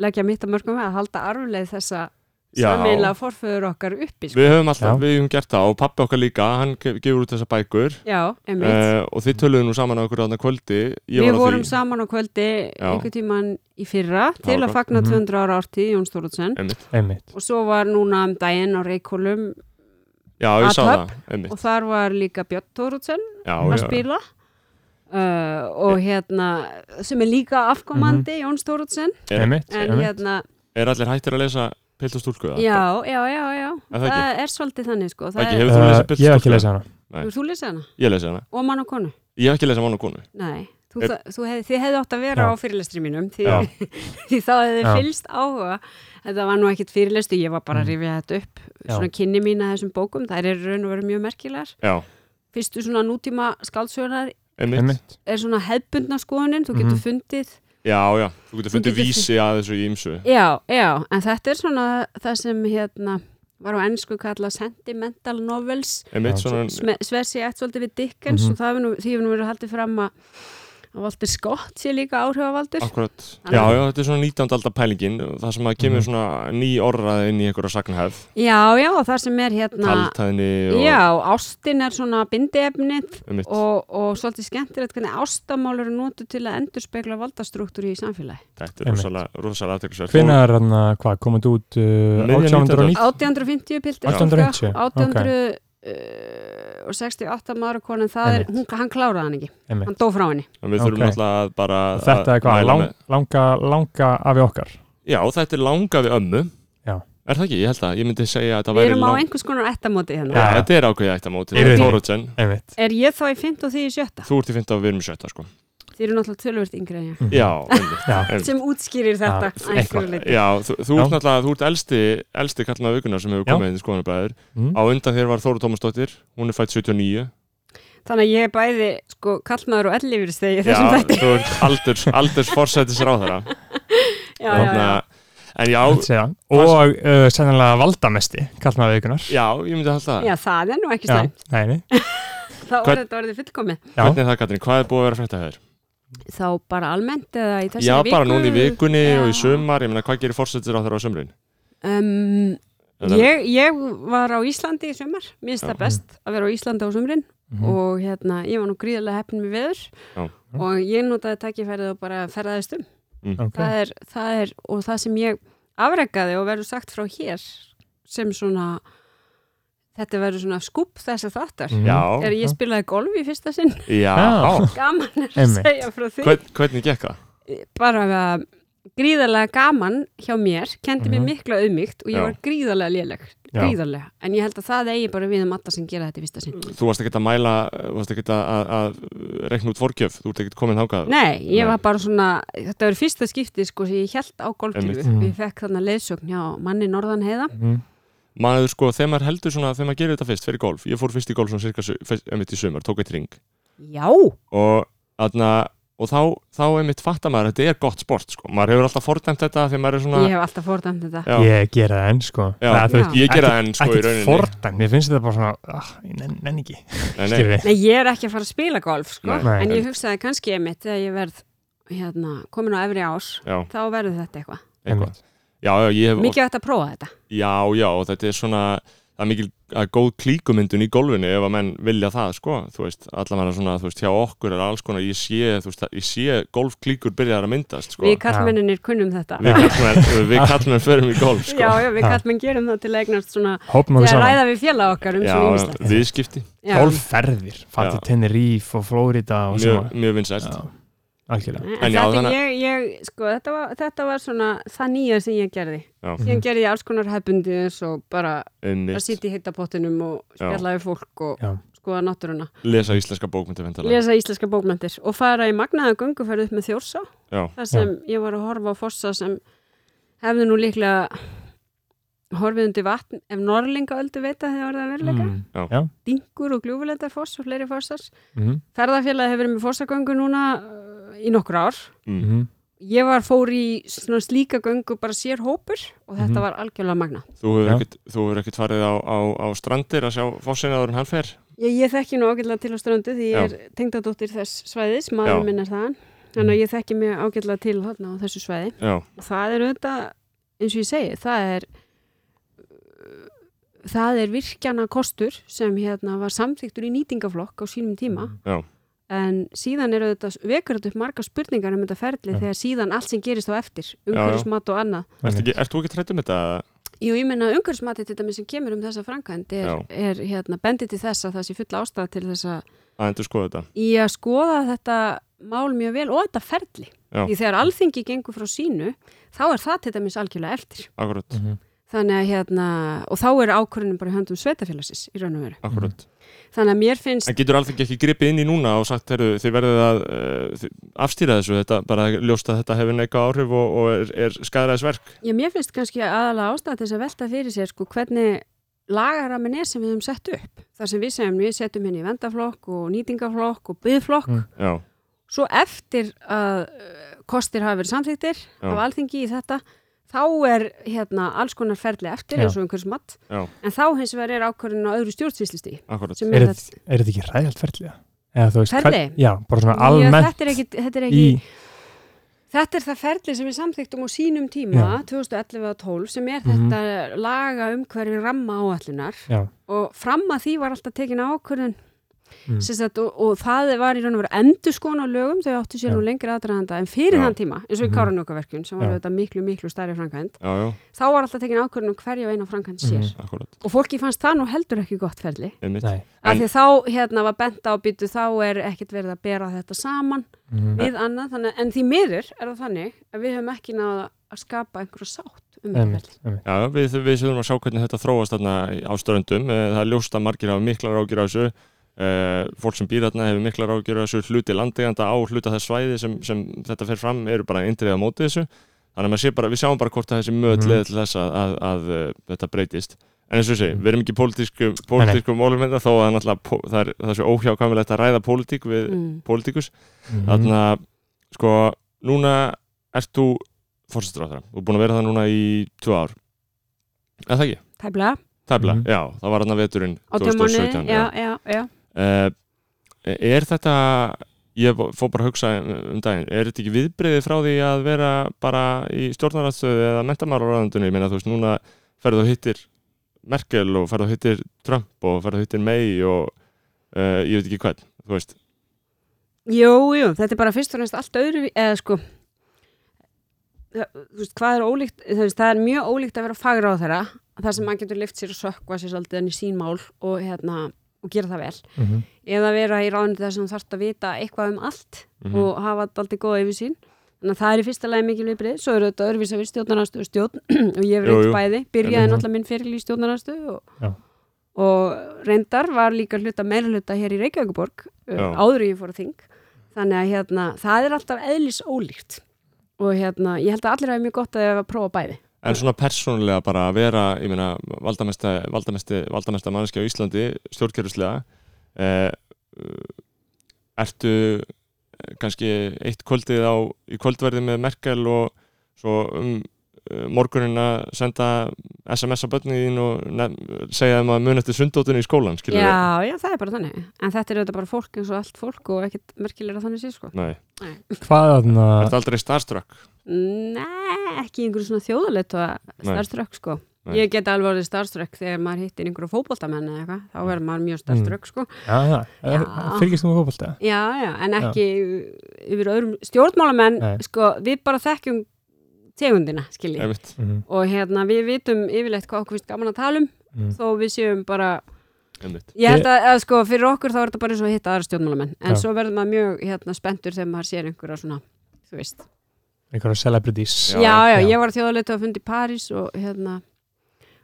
S4: leggja mitt að mörgum að halda arfleið þessa
S1: Já.
S4: sammeila forföður okkar uppi. Sko.
S1: Við höfum alltaf,
S2: Já.
S1: við höfum gert það og pappi okkar líka, hann ge- gefur út þessa bækur
S4: Já, einmitt.
S1: uh, og þið töluðu nú saman á okkur þarna kvöldi ég
S4: Við
S1: var á
S4: vorum
S1: því.
S4: saman á kvöldi
S1: Já.
S4: einhvern tíman í fyrra til
S1: gott.
S4: að fagna
S2: Mhm.
S4: 200 ára ártíð Jón Stóruldsson
S1: Einmitt.
S2: Einmitt
S4: og svo var núna um daginn á Reykjólum
S1: Já, ég sá það,
S4: Athöfn.
S1: einmitt
S4: og þar var líka Björn Stóruldsson
S1: já,
S4: að
S1: já.
S4: spila uh, og hérna sem er líka afkomandi
S1: Mhm.
S4: Jón Stóruldsson
S1: Er-
S2: Einmitt
S4: en
S2: Einmitt
S4: hérna,
S1: Er allir hættir að lesa Pilt og stúlku? eða?
S4: já, já, já, já
S1: Er
S4: það,
S1: það
S4: er svolítið þannig sko
S1: Ekki,
S4: það er,
S1: hefur þú lesið
S2: Eh,
S1: Pilt
S2: Ég hef
S1: og
S2: ekki
S1: stúlku?
S2: lesað hana
S4: hefur þú lesið hana?
S1: Ég lesi hana
S4: og mann og konu?
S1: Ég hef ekki lesað mann og konu
S4: Nei, þú,
S1: Er-
S4: er, þú hef, þið hefði átt að vera
S2: Já.
S4: á fyrirlestri mínum því,
S1: Já.
S4: því þá hefði
S2: Já. Mm.
S4: fylst áhuga þetta var nú ekkit fyrirlestri, ég var bara að rifja þetta upp
S2: Já.
S4: svona kynni mín að þessum bókum þær eru raun og veru mjög merkilegar
S1: Já,
S4: fyrstu svona nútíma skáldsögnar
S1: einmitt,
S2: Einmitt
S4: er svona hefbundna skoðunin þú getur
S2: Mhm.
S4: fundið
S1: Já, já, þú getur fundið
S4: getur
S1: vísi að þessu í ymsu
S4: Já, já, en þetta er svona það sem hérna var á ennsku kallað sentimental novels
S1: Einmitt,
S2: Já.
S1: svona
S4: Sme- sversi eitt svolítið við Dickens
S2: Mhm.
S4: og það hefur nú, því hefur nú verið haldið fram að að Walter Scott sé líka áhrifavaldur
S1: Akkurat,
S4: Þannig-
S1: já, já, þetta er svona 19. aldar pælingin það sem að kemur
S2: Mhm.
S1: svona ný orðað inn í einhverja sagnhæð,
S4: Já, já, og það sem er hérna
S1: kaltæðni og
S4: Já, ástin er svona bindiefnið
S1: einmitt,
S4: og, og svolítið skemmtilegt hvernig ástamál eru notu til að endurspegla valdastruktúri í samfélagi
S1: þetta er
S2: Einmitt.
S1: rosalega rosalega aðteklisverð
S2: Hvenær er hann að, hvað, komandi út uh,
S1: Miðjan
S2: 1890?
S4: 1850 piltur
S2: 1850,
S4: 1868 maður og konin það er,
S2: Einmitt.
S4: hún, hann kláraði hann ekki,
S2: Einmitt
S4: hann dó frá henni
S1: En við þurfum
S2: Ok.
S1: náttúrulega að bara
S2: Og Þetta er hvað,
S1: að mæla
S2: lang,
S1: með-
S2: langa, langa afi okkar
S1: Já, þetta er langa við ömmu
S2: Já.
S1: Er það ekki? Ég held að, ég myndi segja að það
S4: Við
S1: væri
S4: erum á
S1: lang-
S4: einhvers konar ettamóti
S1: Já,
S4: hérna
S2: Já.
S1: þetta er ákveðið eitt á móti
S2: Erum við-
S1: Þóruðsen,
S2: Einmitt
S4: Er ég þá í 50 og því í sjötta?
S1: þú ert í fynda og við erum í sjötta sko
S2: Mm.
S4: Þið eru náttúrulega tölvöld yngri en ég
S2: Mhm.
S1: Já, einmitt.
S2: Já.
S1: Einmitt.
S4: sem útskýrir
S2: Já,
S4: þetta að einhverju
S2: eitthvað.
S4: leyti.
S1: Já, þú, þú ert
S2: Já.
S1: náttúrulega, þú ert elsti elsti kallna aukunar sem hefur
S2: Já.
S1: komið inn í skoðanabæður
S2: Mm.
S1: Á undan þér var Þóru Tómasdóttir, hún er fætt 79
S4: Þannig að ég er bæði sko kallmaður og ellifir stegi þessum
S1: Já,
S4: þætti.
S1: þú ert aldurs, aldurs forsætis ráðara
S4: Já, já, já.
S1: En já,
S2: Þetta segja. Og uh, sennilega valdamesti kallt maður vikunar
S1: já, ég myndi að halda það
S4: Já, það er nú ekki
S2: Já,
S4: slæmt.
S2: nei, nei.
S1: Hvern-
S4: Þá er þetta orðið fullkomið.
S2: Já.
S1: Hvernig er það Katrín, hvað er búið að vera frétta hér?
S4: Þá bara almennt eða í þessari
S1: Já,
S4: viku.
S1: bara núna í vikunni og í
S4: Já.
S1: sumar, ég meina hvað gerir forsætis á sumrin?
S4: Um,
S1: Eða-
S4: ég, ég var á Íslandi í sumar. Mér finnst
S1: Já.
S4: það best að vera á Íslandi á sumrin
S2: Mhm.
S4: og hérna, ég var nú gríðarlega heppin með veður
S1: Já.
S4: og ég notaði takkifærið og bara ferðaðist um.
S2: Okay.
S4: það er, það er, og það sem ég afrekaði og verður sagt frá hér sem svona þetta verður svona skúp þess að þáttar
S2: Mhm.
S1: Mm, Já,
S4: er ég spilaði golf í fyrsta sinn
S1: já,
S2: Já.
S4: gaman er að
S2: Einmitt.
S4: segja frá því
S1: Hvern, hvernig gekk það?
S4: bara að gríðarlega gaman hjá mér, kendi mér
S2: Mhm.
S4: mikla auðmygt og ég
S1: Já.
S4: var gríðarlega léleg,
S2: Já.
S4: gríðarlega. En ég held að það eigi bara við um alla sem gera þetta í fyrsta sinn.
S1: Þú varst ekkert að mæla, þú varst ekkert að, að, að rekna út forgjöf, þú ert ekkert komin þákað
S4: Nei,
S1: Nei.
S4: ég var bara svona, þetta var fyrsta skipti sko sem ég held á golfkjöfu.
S1: Einmitt. Mm.
S2: Mhm.
S4: Ég fekk þarna leiðsögn hjá manni Norðan heiða.
S2: Mm.
S1: Maður sko, þegar maður heldur svona, þegar maður gerir þetta fyrst, fyrir golf Ég fór fyrst í golf svona cirka, su- fyrst- einmitt í sumar, tók eitt ring
S4: Já,
S1: og, aðna, og þá, þá einmitt fattar maður, að þetta er gott sport sko. maður hefur alltaf fordæmt þetta þegar maður er svona
S4: ég hef alltaf fordæmt þetta.
S1: Já.
S2: Ég gera það enn sko
S1: Já,
S2: Það, þú veist,
S1: ég gera
S2: ekkert-
S1: enn sko í
S2: Ekkert
S1: rauninni
S2: fordan, mér finnst þetta bara svona ah, Ég nenn, nenn ekki,
S1: Nei, nei.
S2: skilur við
S4: Nei, ég er ekki að fara að spila golf, sko.
S1: Nei.
S2: Nei.
S4: En ég hugsaði kannski ég mitt þegar ég verð hérna, komin á efri ás,
S1: Já,
S4: þá verður þetta eitthvað.
S1: eitthvað Já, já, ég hef
S4: Mikið hægt að prófa þetta.
S1: Já, já, og þetta er svona það er mikil að góð klíkumyndun í golfinu ef að menn vilja það, sko þú veist, allavega svona, þú veist, hjá okkur er alls konar ég sé, þú veist, það- ég sé golfklíkur byrjar að myndast, sko
S4: Við kallmenninir kunnum þetta.
S1: við kallum við kallum förum í golf, sko
S4: Já, já, við
S2: Já.
S4: kallmenn gerum það til að eignast svona,
S2: Hópum okkur
S4: þegar
S2: saman,
S4: ræða við félag okkar um
S1: Já,
S4: svona ímislegt.
S1: viðskipti,
S4: Já.
S2: golfferðir Fatti
S1: Já.
S2: Tenerife og Florida og
S1: mjög,
S2: svona
S1: mjög vinsælt
S2: Já, Algjörlega
S4: En
S1: En já,
S4: þetta,
S1: þannig-
S4: ég, ég, sko, þetta, var, þetta var svona það nýja sem ég gerði.
S1: Já.
S2: Mhm.
S4: Síðan gerði ég alls konar hefbundi eins og bara að
S1: einmitt,
S4: sitja í hittapottinum og
S1: Já.
S4: spjallaði fólk og
S2: Já.
S4: skoða náttúruna.
S1: lesa íslenska bókmyndi vendalega,
S4: Lesa íslenska bókmyndir og fara í magnaða gönguferð upp með þjórsá.
S1: já,
S4: þar sem ég var að horfa á fossa sem hefði nú líklega horfið undir vatn ef Norlinga öldu veita þegar var það veruleika
S2: Mm.
S1: Já.
S2: Já.
S4: dingur og gljúfulenda foss og fleiri fossars
S2: Mhm.
S4: ferðarfélagi hefur verið með fossagöngu núna uh, í nokkur ár
S1: mm.
S2: Mhm.
S4: ég var fór í svona slíka göngu bara sér hópur og þetta
S2: Mhm.
S4: var algjörlega magna
S1: þú hefur
S2: Já.
S1: ekkert þú hefur ekkert farið á, á, á strandir að sjá fossin áður en hann fer
S4: ég, ég þekki nú ágætlega til á ströndu því ég
S1: Já.
S4: er tengdadóttir þess svæðis
S1: Já. Mhm.
S4: maður minn er þaðan þannig að ég þekki mjög ágætlega til þarna á þessu svæði
S1: já,
S4: Og það er auðvitað, eins og ég segi, það er það er virkjana kostur sem hérna var samþyktur í nýtingaflokk á sínum tíma
S1: já,
S4: en síðan er auðvitað, vekur þetta upp marga spurningar um þetta ferli
S2: Já.
S4: þegar síðan allt sem gerist á eftir, umhverfismat og annað
S1: ert ekki- ert þú ekki trætt um þetta?
S4: Jú, ég meina umhverfismati til dæmis sem kemur um þessa framkvæmd er,
S1: Já.
S4: er hérna, bendið til þess að það sé fulla ástæða til þess að
S1: að endur skoða þetta
S4: í að skoða þetta mál mjög vel og þetta ferli
S1: Já.
S4: því þegar alþingi gengur frá sínu þá er það til dæmis algjörlega eftir
S1: Akkurat,
S2: Mhm.
S4: Þannig að hérna, og þá er ákvörðunum bara í höndum sveitafélagsins í raun og veru.
S1: akkurat
S4: Þannig að mér finnst,
S1: En getur alþengi ekki gripið inn í núna og sagt heru, þið verðið að uh, afstýra þessu þetta, bara ljóst að þetta hefur neika áhrif og, og er, er skæðræðisverk
S4: já, mér finnst kannski aðalega ástæða til þess að velta fyrir sér sko hvernig lagaramin er sem við höfum sett upp. Það sem við segjum, við setjum henni í vendaflokk og nýtingaflokk og byðflokk.
S2: Mm.
S1: Já,
S4: Svo eftir að eh, kostir hafa verið samþýttir
S1: Já.
S4: af alþingi í þetta, þá er hérna alls konar ferli eftir
S2: Já.
S4: eins og einhvers matt.
S1: Já.
S4: En þá hins vegar er ákvörðun á öðru stjórnsýslisti.
S1: akkurat
S4: sem
S2: Er
S4: er
S2: þetta er þetta ekki ræðalt ferlið? Eða þú veist
S4: Ferli?
S2: hvern- Já, bara svona
S4: Já,
S2: almennt
S4: Þetta er ekki, þetta er ekki
S2: í
S4: Þetta er það ferli sem við samþyktum á sínum tíma, 2011 og 12, sem
S2: Mhm.
S4: er þetta laga umhverfi ramma áallunar
S2: Já,
S4: og fram að því var alltaf tekin ákvörðun
S2: Mm.
S4: mm. sagt, og, og það var í raun og veru endur skona lögum, þau áttu sér
S2: Já.
S4: nú lengri aðdraðanda en fyrir
S1: Já.
S4: þann tíma, eins og í
S2: Mhm.
S4: Káranúkaverkun sem var
S2: Já.
S4: þetta miklu, miklu stærri framkvæmt
S1: Já, já,
S4: þá var alltaf tekin ákvörðun um hverja og eina framkvæmt sér
S2: Mhm.
S1: akkurat,
S4: og fólki fannst það nú heldur ekki gott ferli
S1: einmitt
S2: nei
S4: af
S1: En-
S4: því þá hérna var bent á býtu þá er ekkit verið að bera þetta saman
S2: Mhm.
S4: við annað, þannig, en því miður er það þannig að við höfum ekki náða að skapa einhverja sátt um þetta
S2: Einmitt,
S4: ferli.
S2: einmitt.
S1: Já, við, við þurfum að sjá hvernig þetta þróast þarna á ströndum, Eh, það er ljóst að margir hafa miklar ágjur á þessu eh, fólk sem býr þarna hefur miklar ágjur á þessu hluti landeganda á hluta þess svæði sem, sem þetta fer fram eru bara indrið á móti þessu þannig að maður sé bara, við sjáum bara hvort að þessi möt
S2: Mhm.
S1: leði til þess að, að, að eh, þetta breytist en eins og þessi, við erum ekki í pólitískum pólitískum málumenda þó að það er náttúrulega pó- það er, það er svo óhjákvæmilegt að ræða pólitík við
S4: Mm.
S1: pólitíkus
S2: Mhm.
S1: Þannig að, sko, núna ert þú fórsetráðara og búin að vera það núna í tvö ár. Eða það ekki?
S4: Tæplega,
S1: Tæpla,
S2: Mhm.
S1: já, það var hann að veturinn
S4: átjámanni,
S1: 2017.
S4: já, já, já.
S1: Eh, er þetta, ég fór bara að hugsa um daginn, er þetta ekki viðbreyði frá því að vera bara í stjórnaraðstöðu eða mentamálaráðandunni? Ég meina, þú veist, núna ferðu og hittir Merkel og ferðu og hittir Trump og ferðu og hittir May og uh, ég veit ekki hvern, þú veist.
S4: Jú, jú, þetta er bara fyrst og næst allt öðru, eða sko, það, þú veist, hvað er ólíkt, þú veist, það er mjög ólíkt að vera fagráð þeirra, þar sem maður getur lift sér og sökva sér svolítið enn í sín mál og hérna, og gera það vel.
S2: Mhm.
S4: Eða vera í ráðinu þar sem þú þarft að vita eitthvað um allt
S1: Mhm.
S4: og hafa alltaf góða yfir sín. Þannig að það er í fyrsta lagi mikil viðbrið, svo eru þetta öðruvísa við stjórnarnastu og stjórn og ég hef
S1: Jú,
S4: reynd
S1: jú.
S4: bæði, byrjaði
S2: Mhm.
S4: náttúrulega minn fyrir í stjórnarnastu og,
S2: Já.
S4: og reyndar var líka hluta meira hluta hér í Reykjavíkuborg
S1: Já.
S4: uh, áður en ég fór að þing þannig að hérna, það er alltaf eðlis ólíkt og hérna, ég held að allir hafi mjög gott að ef að prófa bæði
S1: En svona persónulega bara að vera, ég meina, valdamesta, valdamesta, valdamesta manneskja á Íslandi, stjórnkerfislega, eh, eh, ertu eh, kannski eitt kvöldið á, í kvöldverði með Merkel og svo um eh, morguninn að senda SMS að börnin þín og nefn, segja þeim að mun eftir sundóttinu í skólan, skilur
S4: já, já, það er bara þannig, en þetta er auðvitað bara fólk eins og allt fólk og ekkert merkilega þannig sé sko.
S1: Nei,
S2: Hvað þarna
S1: ertu aldrei starstruck?
S4: Nei, ekki í einhverju svona þjóðalett og
S1: Nei.
S4: starströkk sko.
S1: Nei.
S4: Ég get alveg orðið starströkk þegar maður hittir einhverju fótboltamenn eða eitthvað, þá verður maður mjög starströkk sko.
S2: Já, já,
S4: Já.
S2: fylgist þú með fótbolta?
S4: Já, já, en ekki yfir öðrum stjórnmálamenn,
S2: Nei.
S4: sko, við bara þekkjum tegundina, skilji.
S1: Einmitt.
S2: Mm.
S4: Og hérna, við vitum yfirleitt hvað okkur finnst gaman að tala um,
S2: Mm.
S4: þó við séum bara,
S1: Einmitt.
S4: ég held að, að sko, fyrir okkur þá er þetta bara eins og að hitta aðra stjórnmálamenn, en
S2: Já.
S4: svo verður maður mjög, hérna, spenntur þegar maður sér einhverja svona, þú veist,
S2: Einhverja celebrities
S1: Já.
S4: já, já,
S2: já.
S4: ég var þjóðalötu að fundi í París og hérna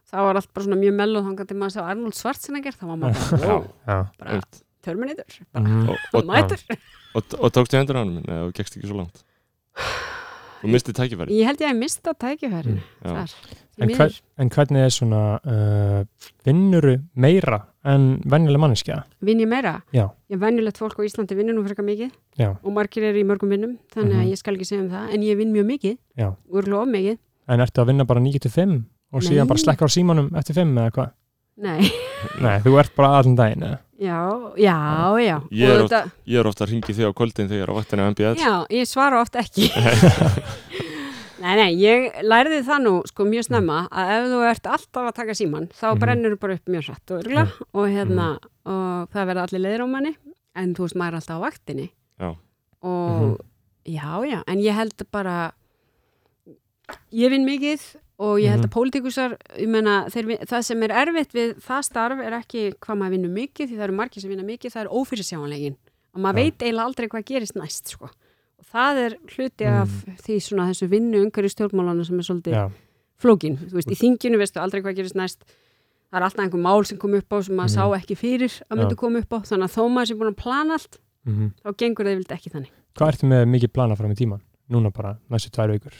S4: það var allt bara svona mjög melloð þangað til maður sá Arnold Schwarzenegger þá var maður bara, wow,
S2: Já.
S4: bara
S1: Einmitt.
S4: Terminator, bara
S2: Mhm.
S1: Og, og,
S4: mætur
S1: og, og tókstu hendur á hann minn, eða þú gekst ekki svo langt? Þú misti tækifæri?
S4: ég held ég að mista tækifærin
S1: Mm, Já.
S4: þar,
S2: En,
S4: því
S2: hver,
S4: miður.
S2: en hvernig er svona uh, vinnuru meira en venjuleg manneskja?
S4: vinn ég meira,
S2: Já.
S4: ég venjulegt fólk á Íslandi vinnur nú frekar mikið
S2: Já.
S4: og margir eru í mörgum vinnum, þannig
S2: Mhm.
S4: að ég skal ekki segja um það en ég vinn mjög mikið,
S2: Já.
S4: úr lof mikið
S2: En ertu að vinna bara 9-5 og
S4: Nei.
S2: síðan bara slekka á símanum eftir 5 eða hvað?
S4: nei,
S2: Nei, þú ert bara allan daginn eða?
S4: já, já, já
S1: Ég
S4: Og
S1: er
S4: þetta-
S1: Ég er ofta að ringi þig á kvöldin þegar ég er á vaktinu á MBL
S4: Já, ég svara oft ekki Nei, nei, ég lærði það nú sko mjög snemma að ef þú ert alltaf að taka síman þá
S2: Mhm.
S4: brennur þú bara upp mjög hratt og, örgla, og, hérna, og það verða allir leiðir á manni en þú veist maður er alltaf á vaktinni
S1: Já.
S4: og já, já, en ég held bara ég vinn mikið og ég held
S2: Mhm.
S4: að pólitíkusar ég meina, þeir, vin- það sem er erfitt við það starf er ekki hvað maður vinnur mikið því það eru margir sem vinna mikið, það er ófyrirsjáanlegin og maður
S2: Já.
S4: veit eiginlega aldrei hvað gerist næst sko og það er hluti af því svona þessu vinnu umhverju stjórnmálana sem er svolítið
S2: Mm. Já. Mm.
S4: flókin, þú veist, í þinginu veistu aldrei hvað gerist næst það er alltaf einhver mál sem kom upp á sem
S2: Mm.
S4: maður sá ekki fyrir að myndi koma upp á þannig að þó maður sem búin að plana allt
S2: Mm
S4: þá gengur það vilt ekki þannig
S2: Hvað ertu með mikið plana fram í tíman? Núna bara, næstu tvær vikur.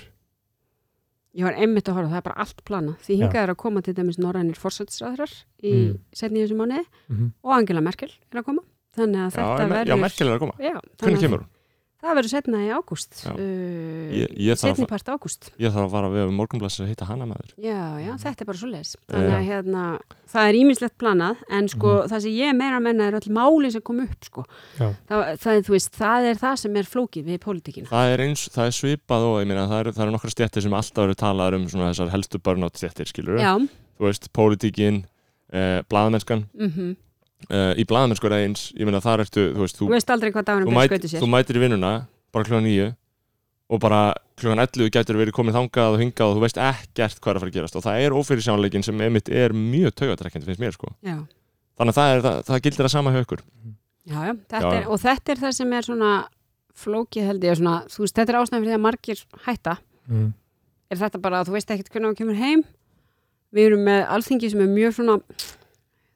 S4: ég var einmitt að horfa, það er bara allt plana því hingað er að koma til dæmis norrænir forsætisræðrar í mm.
S2: Mm.
S4: setni þessu mánuði
S2: Mm -hmm.
S4: og Angela Merkel er að koma þannig að
S1: já,
S4: þetta
S1: en-
S4: verður
S1: já merkilega er að koma
S4: Já, þannig
S1: Hvernig
S4: að
S1: kemur hún?
S4: það verður setna í ágúst
S1: Já.
S4: uh,
S1: Ég, ég, þarf,
S4: setni part ágúst
S1: ég þarf að fara við um morgunblassi að hitta hana maður
S4: Já, já, þetta er bara svo leis.
S1: Já. Mhm.
S4: Þannig að hérna, það er ímislegt planað, en sko, það sem ég er meira að menna er öll máli sem kom upp, sko.
S2: Já.
S4: Það, það, er, þú veist, það er það sem er flókið við pólitíkina.
S1: Það er, eins, það er svipað og ég meina það eru, það eru nokkra stjættir sem alltaf eru talaðar um svona þessar helstu burnout stjættir skilur
S4: Já,
S1: Þú veist, pólitíkin, eh, blaðamennskan
S4: mm
S1: eh, Í blaðamennsku er það eins, ég meina þar ertu, þú veist,
S4: þú
S1: þú,
S4: veist aldrei hvað dagurinn
S1: þú,
S4: byrja
S1: mætir,
S4: skautu sér.
S1: þú mætir í vinnuna bara klukkan nýju og bara klukkan 11 gætur verið komið þangað og hingað og þú veist ekkert hvað er að fara að gerast og það er ófyrirsjánleikin sem einmitt er mjög taugatrekkend finnst mér sko
S4: Já,
S1: þannig að það, er, það, það gildir að sama hjá ykkur
S2: Mm.
S4: já, já, þetta
S1: Já, já.
S4: Er, og þetta er það sem er svona flókið held ég, svona, þú veist, þetta er ástæðan fyrir því að margir hætta.
S2: Mm.
S4: Er þetta bara að þú veist ekkert hvernig þú kemur heim? Við erum með alþingi sem er mjög svona,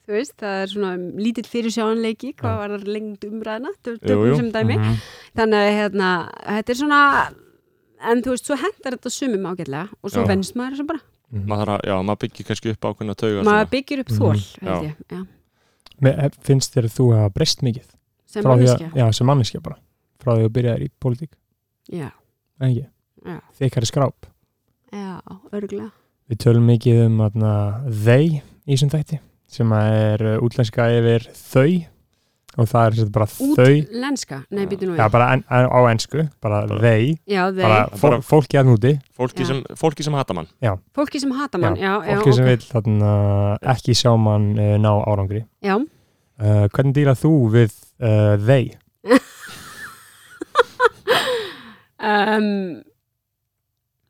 S4: þú veist, það er svona lítill fyrirsjáanleiki, hvað var það lengd umræðina,
S1: Jú, jú. Mhm.
S4: tökum sem dæmi. þannig að hérna, þetta er svona en þú veist, svo hendar þetta sumum ágætlega og svo
S1: Já.
S4: vennst maður þessu bara
S1: maður, þarf að- já, maður byggir kannski upp ákveðna tauga
S4: maður
S1: svona.
S4: byggir upp
S2: Mhm.
S4: þól
S1: Já.
S4: held ég, já,
S2: Me, eh, finnst þér að þú hafa breyst mikið?
S4: sem
S2: Frá því að-
S4: manneskja
S2: Já, sem manneskja bara. Frá því að þú byrjaðir í pólitík.
S4: já,
S2: En ekki?
S4: Já.
S2: Þykari skráp.
S4: já, örgulega
S2: Við tölum mikið um atna, they í þessum þætti sem að er uh, útlenska yfir þau og það er sem sagt bara þau
S4: útlenska, nei,
S1: Já.
S4: býtu nú
S2: Já,
S4: við
S2: bara en, en, á ensku, bara,
S1: Bara-
S2: they,
S4: já, þeir,
S2: bara, hérna fó,
S1: Bara-
S2: fólki að núti,
S1: fólki,
S4: Já.
S1: sem, fólki sem hata mann
S4: fólki sem hata mann já, já,
S2: fólki sem
S4: ok.
S2: vil þarna, ekki sjá mann uh, ná árangri.
S4: já,
S2: Uh, hvernig dýlar þú við uh, they?
S4: um,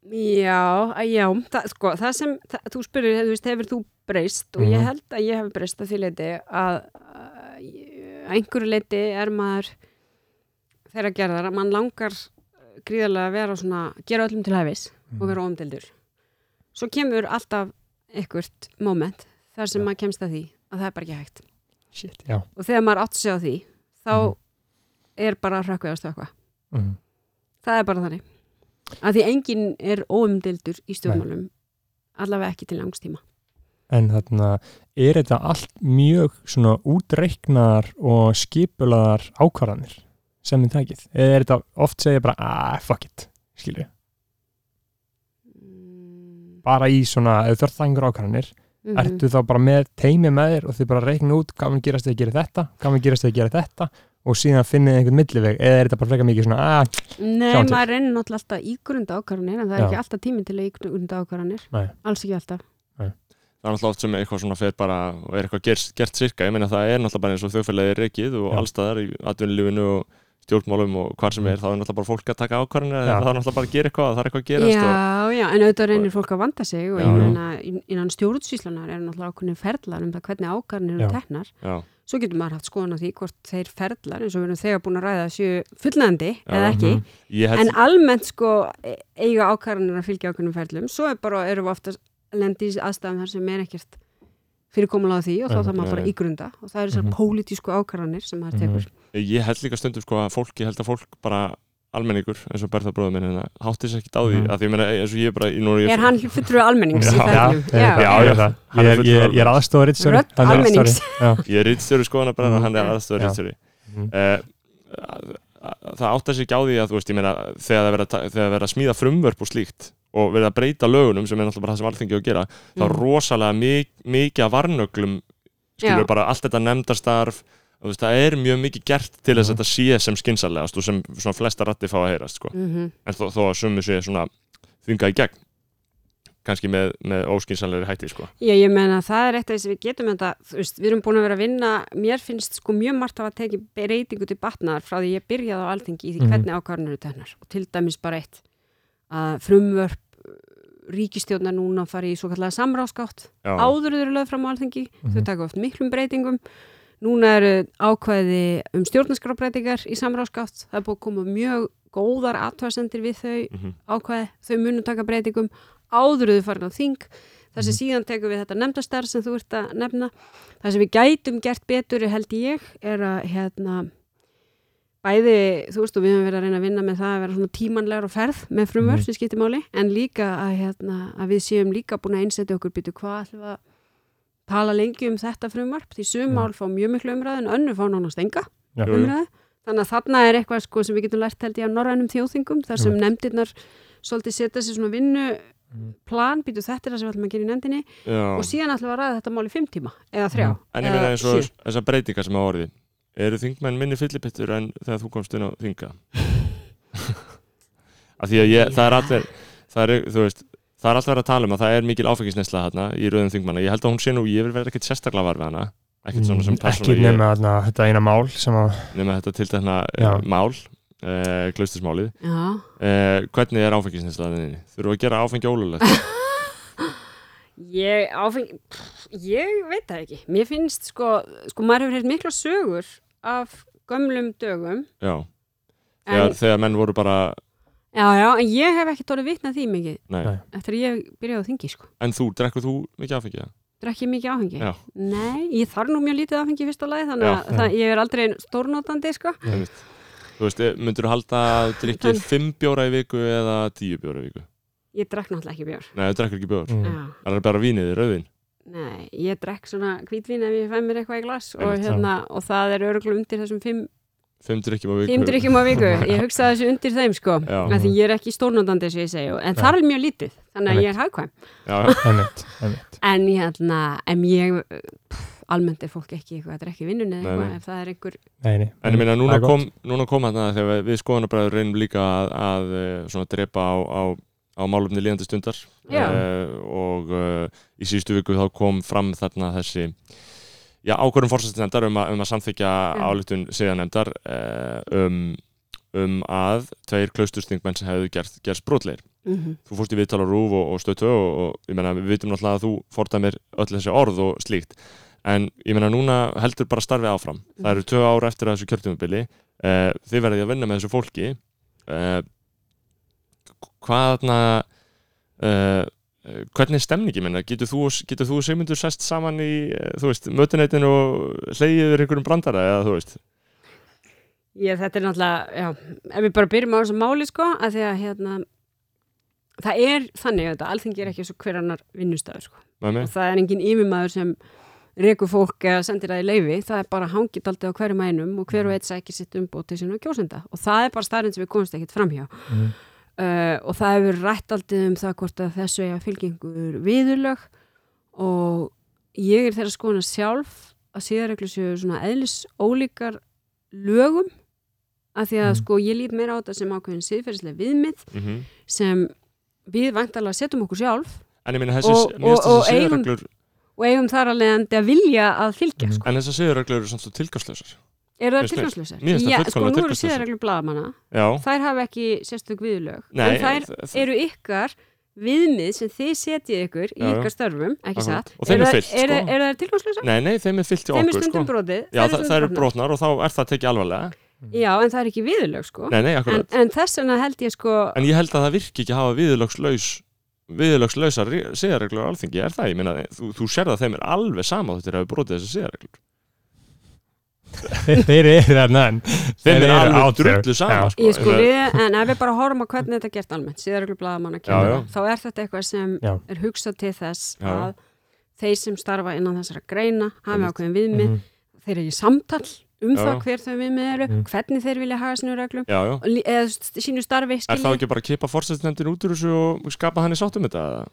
S4: já, að- já það, sko, það sem það, þú spyrir, þú veist, hefur þú breyst og ég
S2: Mhm.
S4: held að ég hef breyst að því leiti að að ég- að einhverju leiti er maður þeirra gerðar að mann langar gríðarlega að vera svona, gera öllum til hæfis
S2: Mhm.
S4: og vera óumdeldur. Svo kemur alltaf einhvert moment þar sem
S2: Já.
S4: maður kemst að því að það er bara ekki hægt.
S2: Shit, já.
S4: Og þegar maður átt sig á því, þá
S2: Mhm.
S4: er bara hrökkveð að stökkva.
S2: Mm.
S4: Það er bara þannig. Af því enginn er óumdeldur í stjórnmálum, allavega ekki til langstíma.
S2: En þarna, er þetta allt mjög svona útreiknar og skipulaðar ákvarðanir sem þið takið? Eða er þetta oft segja bara, ah, fuck it, skilju,
S4: Mm
S2: bara í svona, ef þú þarf það einhver ákvarðanir,
S4: -hmm.
S2: ertu þá bara með teimi með þér og þið bara reikna út hvað mun gerast eða gera þetta, hvað mun gerast eða gera þetta og síðan finnið þið einhvern milliveg eða er þetta bara frekar mikið svona, ah,
S4: Nei,
S2: Sjáum til.
S4: maður reynir náttúrulega alltaf að ígrunda ákvarðanir, en það er
S2: Já.
S4: ekki alltaf tími til að ígrunda ákvarðanir.
S2: Nei.
S4: Alls ekki alltaf.
S1: það er náttúrulega oft sem eitthvað svona fer bara og er eitthvað gert, gert sirka, ég meina það er náttúrulega bara eins og þjóðfélagið er reikið og
S2: Já. Mm.
S1: allstaðar í atvinnulífinu og stjórnmálum og hvar sem er, þá er náttúrulega bara fólk að taka ákvarðanir
S2: Já.
S1: það er náttúrulega bara að gera eitthvað, það er eitthvað að gerast og,
S4: Já, já, en auðvitað reynir fólk að vanda sig og
S1: Já,
S4: ég
S1: já.
S4: meina inn- innan stjórnsýslanar eru náttúrulega ákveðni ferlar um það hvernig ákvarðanir eru
S2: Já.
S4: teknar.
S1: já,
S4: Svo getur maður haft skoðan á því hvort þeir ferlar, eins og við erum þegar búin að ræða séu fullnandi eða ekki.
S2: mhm.
S1: ég held
S4: En almennt sko e- eiga ákvarðanir að fylgja ákveðnum ferlum, svo er bara, eru við oftast lendi í aðstæðan þar sem er ekkert fyrirkomulega á því og þá
S2: Nei,
S4: þarf maður
S1: nei,
S4: bara að
S1: nei.
S4: ígrunda og það eru þessar
S2: Mhm.
S4: pólitísku ákvarðanir sem maður tekur.
S1: ég held líka stundum sko að fólk, ég held að fólk bara almenningur, eins og Bertha bróður minn hérna, hátti sér ekkit á því,
S2: Mhm.
S1: að því ég meina eins og ég er bara, nú er ég
S4: Er hann fullur almennings í
S2: Já.
S4: ferlum?
S2: Já, já, já, það.
S1: Hann
S2: ég
S1: er
S2: er, ég er, ég er
S1: fulltrúi-
S2: aðstofar eitt
S4: Rödd almennings.
S1: ég er rýttstjóri skoðan að brenna
S2: Mhm.
S1: hann er aðstöður
S2: Já.
S1: rýttstjóri Mm.
S2: Mhm.
S1: Eh, það áttar sér ekki á því að þú veist, ég meina, þegar það verið að ta- þegar það verið að smíða frumvörp og slíkt og verið að breyta lögunum sem er náttúrulega bara það sem allþingi að gera þá er
S4: Mm.
S1: rosalega mik mikið af varnöglum skilur
S4: Já.
S1: bara allt þetta nefndarstarf þú veist, það er mjög mikið gert til þess
S2: Mhm.
S1: að þetta sé sem skinsalegast og sem svona flesta ratti fá að heyrast sko.
S4: Mhm.
S1: en þó, þó að summi sé svona þunga í gegn kannski með, með óskinsalegri hætti sko.
S4: Já, ég meina það er eitt af því sem við getum þetta, þú veist, við erum búin að vera að vinna, mér finnst sko mjög margt af að teki breytingu til batnaðar frá því ég byrjaði á alþingi í því
S2: Mhm.
S4: hvernig ákvarðanir eru tennar og til dæmis bara eitt að frumvörp uh, ríkistjórnar núna fari í svo kallega samráðskátt,
S1: Já.
S4: áður þau eru lögð fram á alþingi, þau
S2: Mhm.
S4: taka oft miklum breytingum, núna eru ákvæði um stjórnarskrábreytingar í samráðskátt, það er búið að koma mjög góðar aðtöðsendir við þau
S1: Mhm.
S4: ákvæði, þau munum taka breytingum áðuruðu farin á þing þar
S1: Mhm.
S4: sem síðan tekum við þetta nefndastar sem þú ert að nefna það sem við gætum gert betur held ég er að hérna bæði, þú veist og við höfum verið að reyna að vinna með það að vera svona tímanlegar og ferð með frumvörf
S2: Mhm.
S4: sem skiptir máli en líka að, hérna, að við séum líka búin að einsetja okkur býtu hvað ætlum við að tala lengi um þetta frumvarp því sum
S2: Já.
S4: mál fá mjög miklu umræðu en önnur fá nánast enga
S2: Já.
S1: Mhm. Jú, jú.
S4: umræðu þannig að þarna er eitthvað sko, sem við getum lært held ég á norrænum þjóðþingum þar sem nefndirnar svolítið setja sér svona vinnu plan, býtu þetta er það sem við ætlum að gera í
S1: Mhm.
S4: nefndinni
S1: Já. Mhm.
S4: og síðan ætlum við að ræða þetta mál í fimm tíma eða þrjá
S1: En ég
S2: Eh,
S1: meina
S4: eða
S1: eins og
S4: sjö.
S1: þessar breytingar sem hafa orðið eru þingmenn minni fyllipittur en þegar þú komst inn á þinga að því að ég, það er allir það er, þú veist, það er alltaf verið að tala um að það er mikil áfengisnesla þarna í rauðum þingmanna ég held að hún sé nú, ég vil vera ekkert sérstaklega varfið hana ekkert svona sem persónu
S2: Mm. ekki nema þarna, þetta eina mál sem að
S1: ég, nema þetta til þarna eh,
S2: Já.
S1: mál uh, glaustismálið
S4: Já.
S1: uh, hvernig er áfengisnesla þenni? Þurfum við að gera áfengi ólulegt?
S4: Ég, áfeng, pff, ég veit það ekki mér finnst sko, sko maður hefur heilt mikla sögur af gömlum dögum
S1: Já,
S4: en,
S1: þegar, þegar menn voru bara
S4: já, já, en ég hef ekki tólið vitnað því mikið
S1: nei.
S2: Nei.
S4: eftir að ég byrjaði á þingi sko
S1: en þú, drekkur þú mikið áfengi? eða?
S4: Drekki ég mikið áfengi?
S1: Já.
S4: Nei, ég þarf nú mjög lítið áfengi í fyrsta lagi þannig
S1: Já.
S4: að það, ég er aldrei stórnótandi sko.
S2: Já.
S1: Einmitt. Þú veist, myndur þú halda að drikkið
S4: Þannig.
S1: fimm bjóra í viku eða tíu bjóra í viku?
S4: Ég drekk náttúrulega ekki bjór.
S1: Nei, þú drekkur ekki bjór.
S2: mm,
S4: Já.
S1: Það er bara vínið, rauðin.
S4: Nei, ég drekk svona hvítvín ef ég fæ mér eitthvað í glas og,
S1: Einmitt,
S2: já.
S4: hérna, og það er örgulega undir þessum fimm,
S1: Fimm drikkjum á viku.
S4: fimm drikkjum á viku. Ég hugsa þessu undir þeim sko.
S1: Já.
S4: Af Því ég er ekki stórnótandi sem ég segi og- en
S2: Já.
S4: þar er mjög lítið þannig að ég er hagkvæm.
S1: Já, já.
S2: einmitt, einmitt.
S4: En hérna, en ég, pff, almennt er fólk ekki eitthvað að drekka í vinnunni eða
S1: Nei, nei.
S4: eitthvað ef það er einhver
S2: Nei, nei,
S1: En ég meina, núna
S2: það er gott.
S1: kom, núna kom hann að þegar við skoðanabræður reynum líka að, að eh, svona drepa á, á, á málumni líðandi stundar.
S4: Já.
S1: Eh, og uh, í síðustu viku þá kom fram þarna þessi já, ákvörðum fórsættinefndar um, að- um að samþykja
S4: Já.
S1: álutun síðanefndar uh, um, um að tveir klausturstingmenn sem hefðu gerst, gerst brotlegir.
S4: mm
S1: þú fórst í viðtal á rúf og, og stötu og, og ég meina, við vitum náttúrulega að þú fordæmir öll þessi orð og slíkt en ég meina, núna heldur bara starfið áfram Eh, það eru tvö ár eftir að þessu kjörtumabili uh, þið verðið að vinna með þessu fólki uh, hvaðna uh, hvernig er stemningi minna? Getur þú, getur þú og Sigmundur sest saman í, eh, þú veist, mötuneytin og hleyið yfir einhverjum brandara eða þú veist,
S4: Ég, þetta er náttúrulega, já, ef við bara byrjum á þessu máli sko, að því að hérna, það er þannig að alþingi er ekki svo hver annar vinnustæður sko.
S1: með
S4: og
S1: mig?
S4: það er engin yfirmaður sem rekur fólk eða sendir það í leifi, það er bara hangið aldrei á hverjum einum og hver og eitt sækir sitt umbótið sinna og kjósenda og það er bara starinn sem við komumst ekkert framhjá
S2: Mhm.
S4: uh, og það hefur rætt aldrei um það hvort að þessu eiga fylgingur viðurlög og ég er þeirra skoðuna sjálf að síðarreglu séu svona eðlis ólíkar lögum af því að
S2: Mhm.
S4: sko ég lít meira á þetta sem ákveðin siðferðislega viðmið
S1: Mm
S4: sem við vantarlega setjum okkur sjálf
S1: En ég minna þessi,
S4: Og-
S1: mér finnst
S4: og- og
S1: þessi
S4: eigum-
S1: siðareglur
S4: og eigum þar alveg endi að vilja að fylgja
S2: Mhm.
S4: sko.
S1: en þessar siðareglur eru samt svo tilgangslösar
S4: eru
S1: Mér
S4: það
S1: finnst-
S4: tilgangslösar?
S1: mér finnst það
S4: Já, sko
S1: fullkomlega
S4: nú eru
S1: tilgangslausar.
S4: síðarreglur blaðamanna
S1: Já,
S4: þær hafa ekki sérstök viðlög
S1: nei,
S4: en þær
S1: þ-
S4: eru ykkar viðmið sem þið setjið ykkur í
S1: Já, já.
S4: ykkar störfum, ekki
S1: Akkurat.
S4: satt
S1: Og þeim er
S4: það-
S1: fylgt, sko.
S4: er, er það tilgangslösar?
S1: nei, nei, þeim er fyllt í
S4: Þeim er
S1: okkur sko.
S4: stundum brotið
S1: Já,
S4: þær eru
S1: það,
S4: stundum
S1: það eru
S4: brotnar.
S1: brotnar og þá er það tekið alvarlega
S4: Já, en það er ekki viðlög sko
S1: Nei, nei, akkurat
S4: en, en þess vegna held ég sko
S1: En ég held að það virki ekki að hafa viðurlögslaus viðurlögslausar siðareglur á alþingi er það, ég meina, þú, þú sér það þeim er alveg sama þú þeir hafi brotið þessi siðareglur
S2: Þeir þeir eru þarna en
S1: þeim er alveg
S2: out there.
S1: drullu sama
S2: Já.
S1: sko.
S4: Ég sko
S1: Þeir-
S4: við, en ef við bara horfum á hvernig þetta er gert almennt, síðarreglur blaðamanna
S1: Já,
S4: kemur,
S1: já.
S4: þá er þetta eitthvað sem
S2: Já.
S4: er hugsað til þess
S1: Já, já.
S4: að þeir sem starfa innan þessara greina hafi
S1: Einmitt.
S4: ákveðin viðmið,
S2: Mhm.
S4: þeir eru í samtal um
S1: Já.
S4: það hver þau viðmið eru,
S2: Mm.
S4: hvernig þeir vilja haga sínum reglum,
S1: Já, já,
S4: og lí- eða st- sínu starfi
S1: er það
S4: skilja.
S1: ekki bara að kipa fórsetnefndin út úr þessu og skapa hann í sáttum þetta?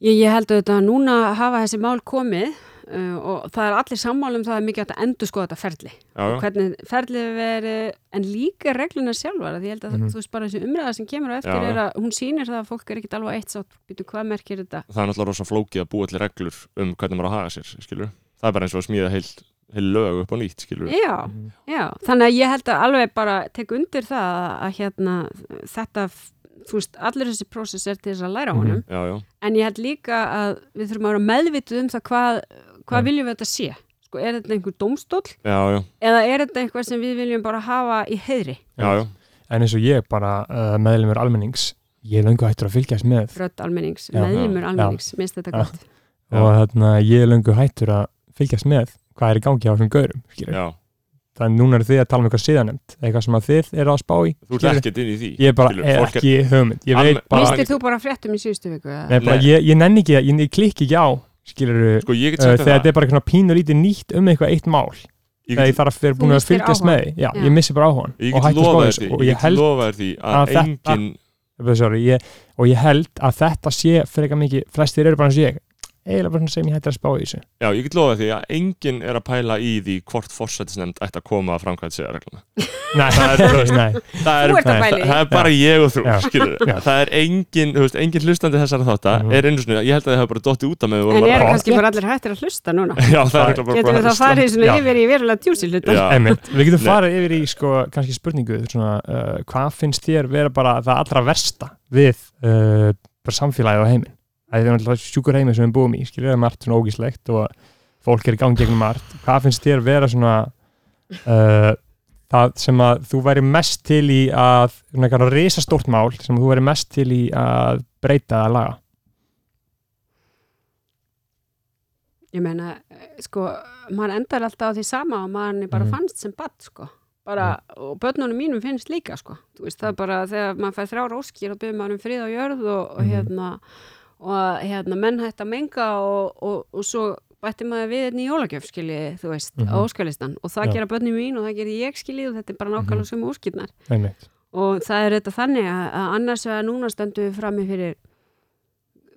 S4: Ég, ég held auðvitað að núna hafa þessi mál komið uh, og það er allir sammálum það er mikið hægt að endur skoða þetta ferli.
S1: Já, já,
S4: Hvernig ferlið verið, en líka regluna sjálfar, því ég held að
S2: Mhm.
S4: þú veist bara þessi umræða sem kemur á eftir
S1: Já, já.
S4: er að hún sýnir það að fólk er ekkit alveg eitt sátt, býtu hvað merkir þetta?
S1: það er náttúrulega rosa flókið að búa allir reglur um hvernig maður á að haga sér, skilur Það er bara eins og að smíða heil, heil lög upp á nýtt, skilur
S4: Já,
S2: Mm.
S4: já, þannig að ég held að alveg bara tek undir það að, að hérna þetta, f- þú veist, allir þessi prósess er til þess að læra á
S2: Mhm.
S4: honum.
S1: Já, já,
S4: En ég held líka að við þurfum að vera meðvituð um það hvað,
S2: Já.
S4: hvað viljum við þetta sé. Sko, er þetta einhver dómstóll
S1: já, já,
S4: eða er þetta einhver sem við viljum bara hafa í heiðri?
S1: já, já.
S2: En eins og ég bara uh, meðlumur almennings ég er löngu hættur að fylgjast með
S4: Rödd almennings,
S2: Já.
S4: meðlumur
S1: Já.
S4: almennings, minnst þetta
S2: Já.
S4: gott.
S1: Já.
S2: og þarna ég er löngu hættur að fylgjast með hvað er í gangi á þessum gaurum skilurðu.
S1: já.
S2: þannig núna eru þið að tala um eitthvað síðanemt eitthvað sem að þið eru að spá í
S1: Þú ert
S2: skilurðu.
S1: ekkert inn í því
S2: ég er bara
S1: skilurðu,
S2: er
S1: fólk er-
S2: ekki hugmynd ég veit
S1: Almen-
S2: bara,
S1: Mistir-
S4: Mistir þú bara fréttum í síðustu viku? eða?
S2: nei, bara
S1: Nei.
S2: ég, ég nenni ekki að- ég, ég klikki ekki á skiluru uh,
S1: Sko, ég get
S2: þegar
S1: sagt
S2: þetta er bara eitthvað pínur lítið nýtt um eitthvað eitt mál
S1: Ég
S2: þegar
S1: get
S2: ég þarf að vera
S4: Þú
S2: búin að
S4: misstir
S2: fylgjast
S4: áhugann.
S2: með því. já,
S4: Já.
S2: ég missi bara á hon
S1: Ég
S2: og
S1: get
S2: hættu að spá
S1: lofað þér
S2: þessu
S1: því,
S2: og
S1: ég
S2: ég
S1: get
S2: held
S1: lofað þér því
S2: að
S1: að
S2: þetta-
S1: engin
S2: sorry, ég, og ég held að þetta sé frekar mikið, flestir eru bara eins og ég eiginlega bara svona sem ég hættir að spá í þessu
S1: Já, ég get lofað því að enginn er að pæla í því hvort fórsættisnefnd ætti að koma að framkvæmt siðaregluna.
S2: Nei, það er þú veist, nei
S1: Það
S4: Þú
S1: er,
S4: ert að
S2: nei,
S4: bæli.
S1: það er bara ég og þú,
S2: Já.
S1: skilur
S2: Já.
S1: Það er enginn, þú veist, enginn hlustandi þessara þátta
S2: Mhm.
S1: er einu svona, ég held að það hefur bara dottið út af mig við
S4: En
S1: vorum
S4: eru
S1: bara-
S4: kannski bara allir hættir að hlusta núna?
S1: Já, það er bara
S4: Getum við þá farið svona
S2: Já.
S4: yfir í verulega djúsi hlutan?
S1: Já,
S2: Einmitt. Við getum
S1: Nei.
S2: farið yfir í sko, kannski spurningu svona, uh, hvað finnst þér vera bara það allra versta við uh, bara samfélagið og heiminn það er náttúrulega sjúkur heiminn sem við búum í skilur það er margt svona ógíslegt og fólk er í gangi gegnum margt hvað finnst þér vera svona uh, það sem að þú væri mest til í að svona eitthvað risastórt mál sem þú væri mest til í að breyta að laga
S4: Ég meina, eh, sko, maður endar alltaf á því sama og maður bara
S2: Mhm.
S4: fannst sem badd, sko. Bara, og börnunum mínum finnst líka, sko. Þú veist, það er bara þegar maður fær þrjár óskir og byrður maður um frið á jörð og, og
S2: Mhm.
S4: hérna, og að, hérna, menn hætt að menga og, og, og svo bætti maður við einn í jólagjöf, skilji, þú veist,
S2: Mhm.
S4: á óskalistan. Og það
S2: Já.
S4: gera börnum mín og það gerði ég, skilji, og þetta er bara nákvæmlega mm
S2: Mhm.
S4: -hmm. sem óskirnar.
S2: einmitt
S4: Og það er þetta þannig að, að annars vegar núna stöndum við frammi fyrir,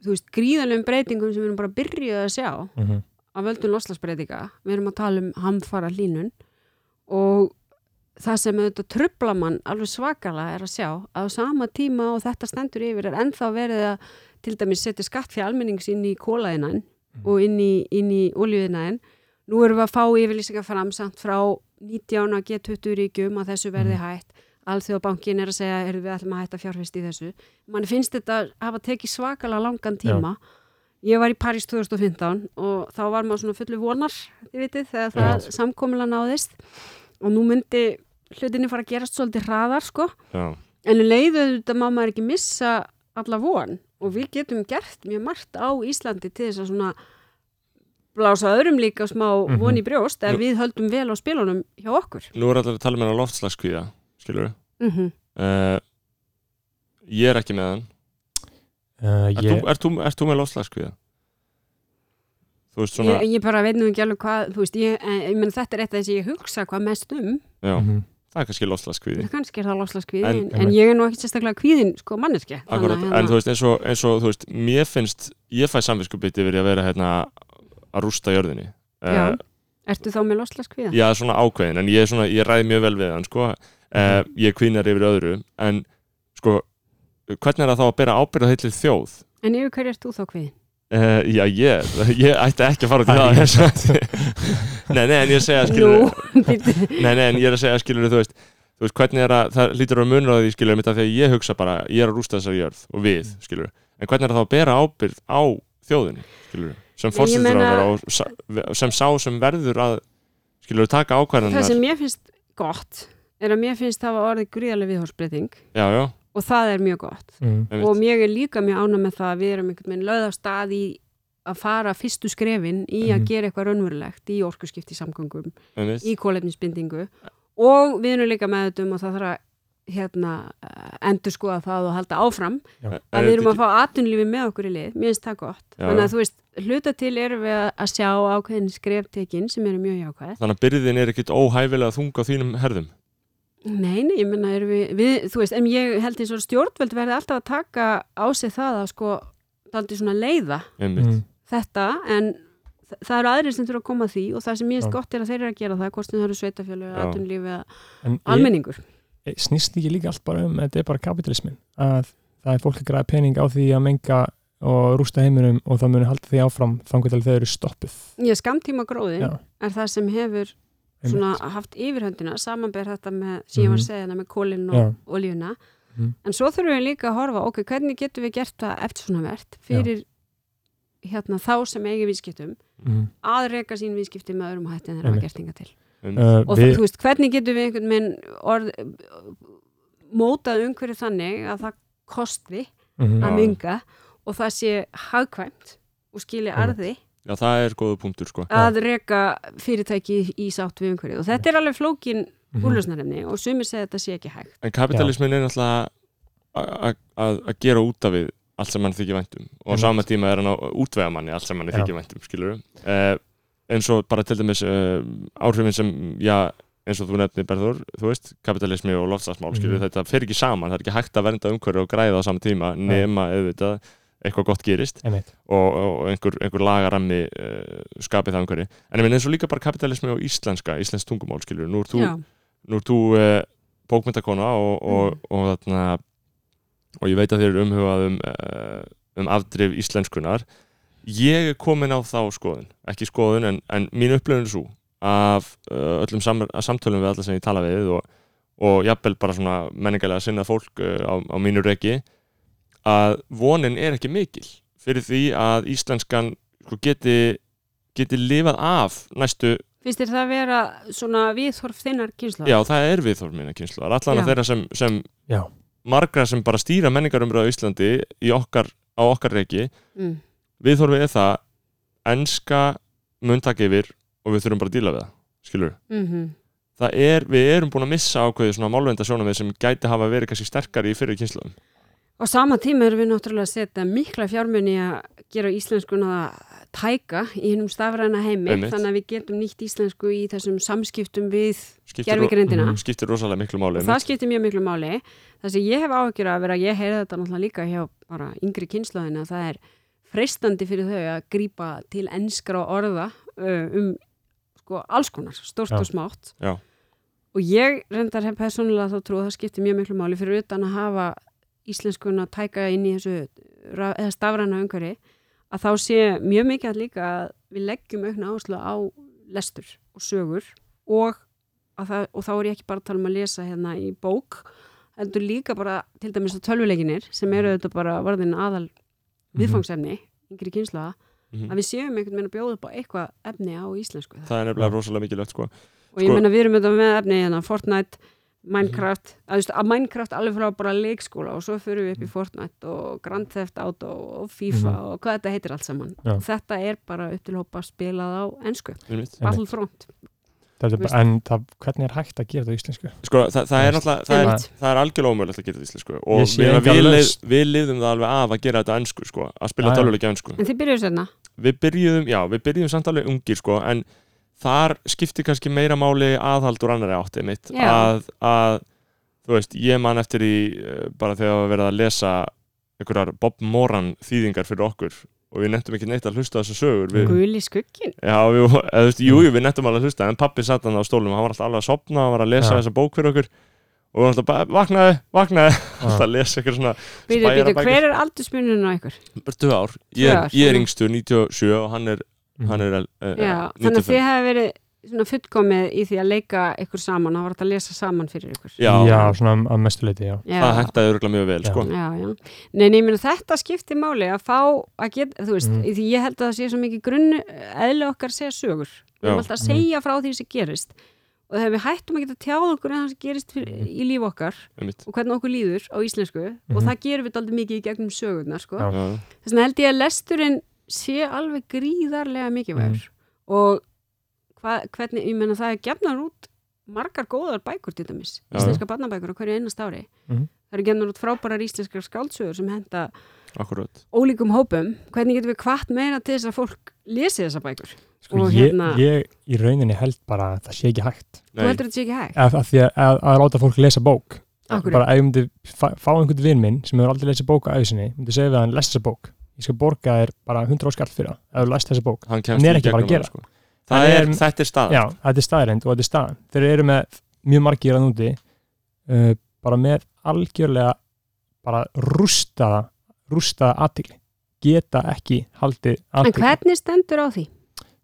S4: þú veist, gríðalegum breytingum sem við erum bara byrjuð að sjá
S2: mm -hmm.
S4: að völdum loslasbreytinga, við erum að tala um hamfara hlínun og það sem auðvitað trubla mann alveg svakala er að sjá að á sama tíma og þetta stendur yfir er ennþá verið að til dæmis setja skatt fyrir almennings inn í kólaðinan og inn í, inn í oljuðinan nú erum við að fá yfirlýsingar framsamt frá 19 að G20 ríkjum að þessu verði hætt Alþjóðabankin er að segja, erum við ætlum að hætta fjárfest í þessu. Man finnst þetta hafa tekið svakala langan tíma ég var í París 2015 og þá var maður svona fullu vonar þið vitið, þegar það
S2: Já.
S4: samkomulega náðist og nú myndi hlutinni fara að gerast svolítið hraðar sko
S1: Já,
S4: En um leiðu þetta má maður ekki missa alla von og við getum gert mjög margt á Íslandi til þess að svona blása öðrum líka smá
S1: Mhm.
S4: von í brjóst ef
S1: Nú-
S4: við höldum vel á spilunum hjá okkur.
S1: Nú er allir að tala með hann loftslagskvíða, skilur við.
S4: Mm
S1: ég er ekki með hann.
S2: Uh,
S1: Ert
S2: ég,
S1: þú- Ert þú ert þú með loftslagskvíða? Þú veist svona,
S4: ég, ég bara veit nú ekki alveg hvað, þú veist, ég, en, ég menn þetta er eitt af þess að ég hugsa hvað mest um,
S1: já,
S2: Mhm.
S1: það er kannski loftslagskvíði.
S4: kannski er það loslastkvíði,
S1: En-
S4: en, en ég er nú ekki sérstaklega kvíðin, sko, manneski.
S1: Akkurat,
S4: hérna-
S1: en þú veist, eins og, eins og þú veist, mér finnst, ég fæ samvinskupið yfir að vera hérna að rústa jörðinni.
S4: Já.
S1: Eh,
S4: Ertu þá með loslastkvíða?
S1: Já, svona ákveðin, en ég, er svona, ég ræði mjög vel við hann, sko. Uh, ég kvínar yfir öðru, en sko, hvernig er það þá að bera ábyrða heilir þjóð?
S4: En yfir hverju ert þú þá kvíðin?
S1: Uh, já, ég, ég ætti ekki að fara út í
S2: Það
S1: það.
S2: er
S1: þess að- nei, nei, en ég segja, skilur,
S4: Nú, býttu.
S1: nei, nei, en ég er að segja, skilur, þú veist, þú veist, hvernig er að, það lítur að munur á því, skilur, mitt af því að ég hugsa bara, ég er að rústa þessari jörð og við,
S4: Mm.
S1: skilur, en hvernig er það að bera ábyrð á þjóðinni, skilur, sem
S4: Nei, ég
S1: fórstættur á
S4: meina-
S1: og sa- sem sá sem verður að, skilur, taka ákvarðanar.
S4: það sem mér finnst gott er að mér finnst það var orðið gríðarlega viðhórsbreyting
S1: Já, já,
S4: og það er mjög gott
S2: mm,
S1: einmitt.
S4: og mér er líka mjög ánað með það að við erum einhvern veginn lögð á stað í að fara fyrstu skrefin í að
S2: Mhm.
S4: gera eitthvað raunverulegt í orkuskipti samgöngum,
S1: Einmitt.
S4: í kólefnisbindingu og við erum líka með þetta um og það þarf að hérna, endur skoða það og halda áfram
S1: Eh,
S4: að við erum að fá atvinnlífi með okkur í lið, mér finnst það gott
S1: Já,
S4: þannig
S1: já.
S4: að þú veist, hluta til erum við að- að sjá ákveðin skreftekin sem eru mjög jákvæð
S1: Þannig að byrðin er ekkit óhæfilega þung á þínum herðum
S4: Nei, nei, ég menna erum við, við, þú veist, en ég held eins og stjórnvöld verði alltaf að taka á sig það að sko, daldi svona leiða
S1: Einmitt,
S2: mm,
S4: þetta, en þa- það eru aðrir sem þurfa að koma að því og það sem ég
S2: Já.
S4: finnst gott er að þeir eru að gera það, hvort sem það eru sveitafjölu,
S1: Já.
S4: atvinnlífi eða
S2: en ég-
S4: almenningur.
S2: ég Eh, snýst ekki líka allt bara um þetta er bara kapitalismin að það er fólk að græða pening á því að menga og rústa heiminum og það muni halda því áfram þangur til þau eru stoppuð
S4: Ég skamtíma gróðin
S2: Já,
S4: er það sem hefur svona
S2: einmitt.
S4: haft yfirhöndina, samanber þetta með, sem ég var að
S2: Mhm.
S4: segja hérna með kólinn
S2: Já.
S4: og olíuna,
S2: Mhm.
S4: en svo þurfum við líka að horfa, ok, hvernig getum við gert það eftirsvonavert fyrir hérna þá sem eigi viðskiptum
S2: mm.
S4: að reka sín viðskipti með öðrum hætti en þeir hafa
S2: Einmitt.
S4: gert inga til.
S1: einmitt.
S2: uh,
S4: Og
S2: við,
S4: þú veist, hvernig getum við einhvern veginn orð, mótað umhverju þannig að það kosti
S2: mm,
S1: Já.
S4: að minga og það sé hagkvæmt og skilja
S2: Einmitt.
S4: arði
S1: Já, það er góðu punktur sko
S4: að reka fyrirtæki í sátt við umhverju og þetta er alveg flókin
S2: Mhm.
S4: úrlösnarefni og sumir segja að þetta sé ekki hægt.
S1: En kapitalismin er náttúrulega a- a- að að gera út af við allt sem mann þykir væntum og á
S2: Einmitt.
S1: sama tíma er hann að útvega manni allt sem mann
S2: Já.
S1: þykir væntum, skilur við Eh, eins og bara til dæmis uh, áhrifin sem, já, eins og þú nefnir Berður, þú veist, kapitalismi og lofstafsmál mm. skilur,
S2: Mhm.
S1: við, þetta fer ekki saman, það er ekki hægt að vernda umhverju og græða á sama tíma nema auðvitað eitthvað gott gerist
S2: einmitt,
S1: og, og einhver, einhver lagarammi uh, skapið það einhverju en ég minn eins og líka bara kapitalismi og íslenska íslensk tungumál skilur, nú er þú,
S4: Já,
S1: nú er þú uh, bókmyndakona og, og, og, þarna, og ég veit að þér eru umhugað um, uh, um afdrif íslenskunar ég er komin á þá skoðun ekki skoðun en, en mín upplöfun er svo af uh, öllum sam samtölum við alla sem ég tala við og, og jafnvel bara svona menningarlega sinnað fólk uh, á, á mínu reki að vonin er ekki mikil fyrir því að íslenskan sko, geti, geti lifað af næstu,
S4: finnst þér það vera svona viðhorf þinnar kynsla?
S1: já það er viðþorf minna kynsluðar, allan að
S4: Já.
S1: þeirra sem, sem
S2: já,
S1: margra sem bara stýra menningarumröðu á Íslandi í okkar, á okkar reki
S4: Mm.
S1: viðþorfið er það enska muntak yfir og við þurfum bara að díla við það, skilur
S4: Mm
S1: það er, við erum búin að missa ákveðið svona málvenda sjónamið sem gæti hafa verið kannski sterkari í fyrir kynsluðum
S4: Og sama tíma erum við náttúrulega að setja mikla fjármunni að gera íslenskuna tæka í hennum stafræna heimi
S1: Einmitt.
S4: þannig að við getum nýtt íslensku í þessum samskiptum við
S1: skiptir, ro- Mm,
S4: gerfigrindina
S2: Mhm.
S1: skiptir rosalega miklu máli
S4: og það skiptir mjög miklu máli það sem ég hef áhyggjur af er að ég heyrði þetta náttúrulega líka hjá bara yngri kynslaðin að það er freistandi fyrir þau að grípa til ennskra orða uh, um sko alls konar, stórt
S2: Já.
S4: og smátt
S1: Já.
S4: og ég reyndar hef persónulega þá trú að það skiptir mjög miklu máli fyrir utan að hafa íslenskuna tæka inn í þessu ra- eða stafræna umhverfi að þá sé mjög mikið að líka að við leggjum aukna áherslu á lestur og sögur og, að það, og þá er ég ekki bara að tala um að lesa hérna í bók heldur líka bara til dæmis að tölvuleikinir sem eru þetta bara varðin aðal viðfangsefni yngri kynsla
S1: Mhm.
S4: að við séum einhvern veginn að bjóða upp á eitthvað efni á íslensku
S1: það er nefnilega rosalega mikilvægt sko.
S4: og ég
S1: sko-
S4: meina við erum þetta með efni hérna Fortnite Minecraft,
S1: Mhm.
S4: að, þú veist, að Minecraft alveg frá bara leikskóla og svo förum við upp í Fortnite og Grand Theft Auto og FIFA
S1: Mhm.
S4: og hvað þetta heitir allt saman
S2: Já.
S4: þetta er bara upp til hópa spilað á ensku,
S1: einmitt.
S4: Battlefront
S2: Þetta er
S4: Veist-
S2: bara, en það, hvernig er hægt að gera þetta á íslensku?
S1: Sko, það, það er náttúrulega, það er,
S4: Einmitt.
S1: það er algjörlega ómögulegt að gera þetta í íslensku og
S2: Ég sé
S1: við,
S2: enga
S1: við, lið,
S2: lausn.
S1: við liðum það alveg af að gera þetta á ensku sko, að spila
S2: Já, já.
S1: töluleikja ensku
S4: en þið byrjuðu sérna
S1: við byrjuðum, já, við byrjuðum samt alveg ungir sko, en þar skipti kannski meira máli aðhald úr annari átti mitt
S4: Já.
S1: að, að, þú veist, ég man eftir í eh, bara þegar við verið að lesa einhverjar Bob Moran þýðingar fyrir okkur og við nefntum ekki neitt að hlusta á þessar sögur við,
S4: Guli skuggin
S1: já, við, eða, þú veist, jú, jú, við nefntum alveg að hlusta en pappi satt hann á stólum, hann var alltaf alveg að sopna hann var að lesa
S2: Já.
S1: þessa bók fyrir okkur og við varum alltaf bara, vaknaði, vaknaði alltaf að lesa eitthvað svona
S4: Býtu, býtu,
S1: Spærabækur.
S4: hver er aldursmunun á ykkur?
S1: bara tvö ár, ég,
S4: Tvö ár,
S1: er- ég er
S4: já.
S1: yngstur 97 og hann er,
S2: Ah, mhm.
S1: hann er uh,
S4: Já, þannig að þið hefði verið svona fullkomið í því að leika ykkur saman, það var hægt að lesa saman fyrir ykkur
S1: já,
S2: já svona að mestu leiti, já.
S4: Já,
S1: það hentaði örgulega mjög vel
S2: Já.
S1: sko.
S4: já, já. Nei, nei, ég meina þetta skipti máli að fá að geta, þú veist,
S2: Mhm.
S4: því ég held að það sé svo mikið grunn eðli okkar að segja sögur við
S1: Já.
S4: erum alltaf
S2: Mhm.
S4: að segja frá því sem gerist og þegar við hættum að geta tjáð okkur en það sem gerist fyrir, í líf okkar
S1: einmitt.
S4: og hvernig okkur líður á íslensku og
S2: Mhm.
S4: það gerum við aldrei mikið í gegnum sögurnar sko.
S2: Já.
S1: Já.
S4: þess vegna held ég að lesturinn sé alveg gríðarlega mikilvægur
S2: Mm.
S4: og hva, hvernig, ég menna það er gefnar út margar góðar bækur til dæmis
S1: Já,
S4: íslenska barnabækur á hverju einast ári
S2: Mhm.
S4: það eru gefnar út frábærar íslenskar skáldsögur sem henda
S1: akkurat
S4: ólíkum hópum hvernig getum við kvart meira til þess að fólk lesi þessa bækur
S2: Sko,
S4: Og
S2: ég,
S4: hérna-
S2: ég í rauninni held bara að það sé ekki hægt
S4: þú
S1: Nei,
S4: heldur þetta sé ekki hægt
S2: að, að því að, að, að láta fólk lesa bók
S4: Af hverju?
S2: bara ef ég myndi fá, fá einhvern vinn minn sem hefur aldrei lesið bók á æfisinni myndi segja við hann, lesa þessa bók ég skal borga þér bara 100 áskall fyrir það ef þú lest þessa bók
S1: hann
S2: Hann
S1: kemst í
S2: er ekki bara
S1: gegnum
S2: að gera.
S1: það sko. það
S2: Hann
S1: er,
S2: er-
S1: þetta er stað
S2: já, þetta er staðrind og þetta er staðan þeir eru með mjög margir að núti uh, bara með algjörlega bara rústaða rústaða aðtikli geta ekki haldið
S4: en
S2: aðtikli
S4: hvernig stendur á því?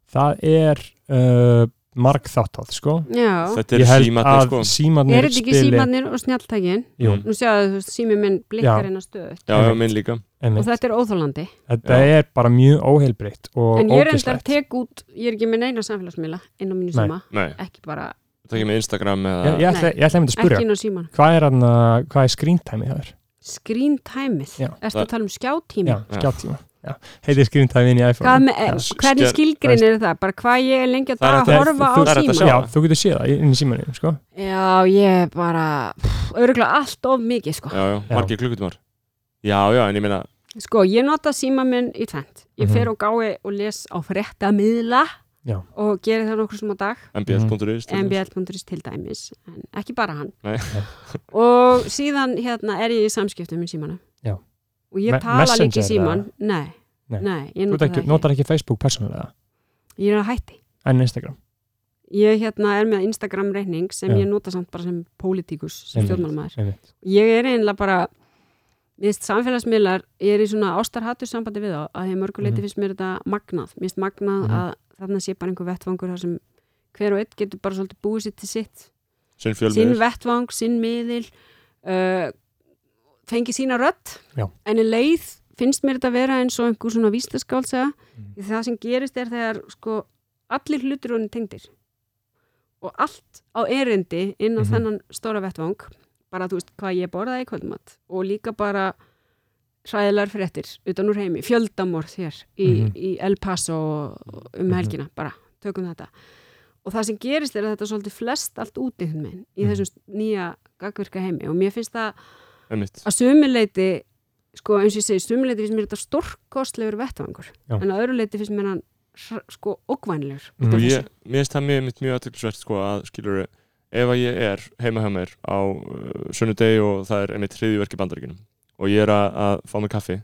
S2: það er uh, margþáttátt sko
S4: Já,
S1: þetta er símatni
S2: að
S1: sko.
S2: símarnir
S4: er þetta ekki símanir og snjáltækin?
S2: Jú,
S1: Mm.
S4: nú séu þú veist, sími minn blikkar
S2: Já.
S4: inn á stöðu
S1: já, já, minn líka
S4: og
S2: einmitt.
S4: þetta er óþólandi
S2: Þetta er bara mjög óheilbritt og
S4: En ég reyndar
S2: ógeðslegt.
S4: tek út, ég er ekki með neina samfélagsmiðla inn á mínu
S2: Nei.
S4: síma,
S1: Nei,
S4: ekki bara,
S1: það ekki með Instagram eða
S2: Ég, ég, ætla,
S4: Nei.
S2: ég ætla einmitt að spyrja,
S4: ekki inn á síman.
S2: hvað er, hana, hvað er screen time í það er?
S4: Screen time-ið,
S2: Já.
S4: erstu að tala um
S2: Já,
S4: skjátíma?
S2: skjáttíma. Já, heitir screen time inn í iPhone.
S4: Hvað með, eh,
S2: Já.
S4: hvernig
S1: skjá-
S4: skilgrein er það? Bara hvað ég er lengi að
S1: Það er hægt
S4: dag að
S1: að-
S4: horfa
S1: þú-
S4: á
S1: það er hægt að
S4: síman?
S1: sjá.
S2: Já, þú getur séð það inn í símanum, sko.
S4: Já, ég er bara, örgulega allt of mikið, sko.
S1: já, já,
S2: Já.
S1: margir klukkutumar já, já, en ég meina
S4: Sko, ég nota síma minn í tvent. Ég
S2: Mhm.
S4: fer og gái og les á fréttamiðla
S2: Já.
S4: og geri það nokkur sem á dag.
S1: mbl.is til dæmis.
S4: mbl.is til dæmis en ekki bara hann
S1: Nei.
S4: og síðan hérna er ég í samskiptum í símanu
S2: Já.
S4: og ég
S2: Me-
S4: tala líka í
S2: Messenger
S4: síman nei,
S2: Nei.
S4: nei. ég
S2: Þú
S4: nota
S2: ekki,
S4: það
S2: notar ekki Facebook persónulega,
S4: ekki ég er að hætti
S2: en Instagram.
S4: ég hérna er með Instagram reyning sem
S2: Já.
S4: ég nota samt bara sem pólitíkus sem
S2: Einmitt.
S4: stjórnmálumæður
S2: Einmitt.
S4: ég er einlega bara mér finnst samfélagsmiðlar, ég er í svona ástarhattu sambandi við þá, að því mörguleiti
S2: Mhm.
S4: finnst mér þetta magnað, mér finnst magnað
S2: Mhm.
S4: að þarna sé bara einhver vettvangur þar sem hver og einn getur bara svolítið búið sitt til sitt
S1: sinn
S4: sinn
S1: fjölmiður
S4: vettvang, sinn miðil uh, fengi sína rödd
S2: Já.
S4: en í leið finnst mér þetta að vera eins og einhver svona vístaskáldsa mm. það sem gerist er þegar sko allir hlutur honum tengdir og allt á erindi inn á
S2: Mhm.
S4: þennan stóra vettvang bara þú veist hvað ég borðaði í kvöldmatt og líka bara hræðilegar fréttir utan úr heimi, fjöldamorð hér í,
S2: Mhm.
S4: í El Paso og um
S2: Mhm.
S4: helgina, bara tökum þetta og það sem gerist er að þetta er svolítið flest allt úti hinn minn í
S2: Mhm.
S4: þessum nýja gagverka heimi og mér finnst það
S1: einmitt.
S4: að sumileiti sko eins og ég segi, sumileiti finnst mér þetta stórkostlegur vettvangur,
S2: Já.
S4: en að öðru leiti finnst mér hann hr- sko ógvænlegur
S2: Mhm.
S4: út af
S1: og
S4: þessu.
S1: ég, mér finnst það mjög, mjög, mjög aðtöklusvert sko að skilur ef að ég er heima hjá mér á uh, sunnudegi og það er einmitt hriðiverki bandaríkinum og ég er að, að fá mér kaffi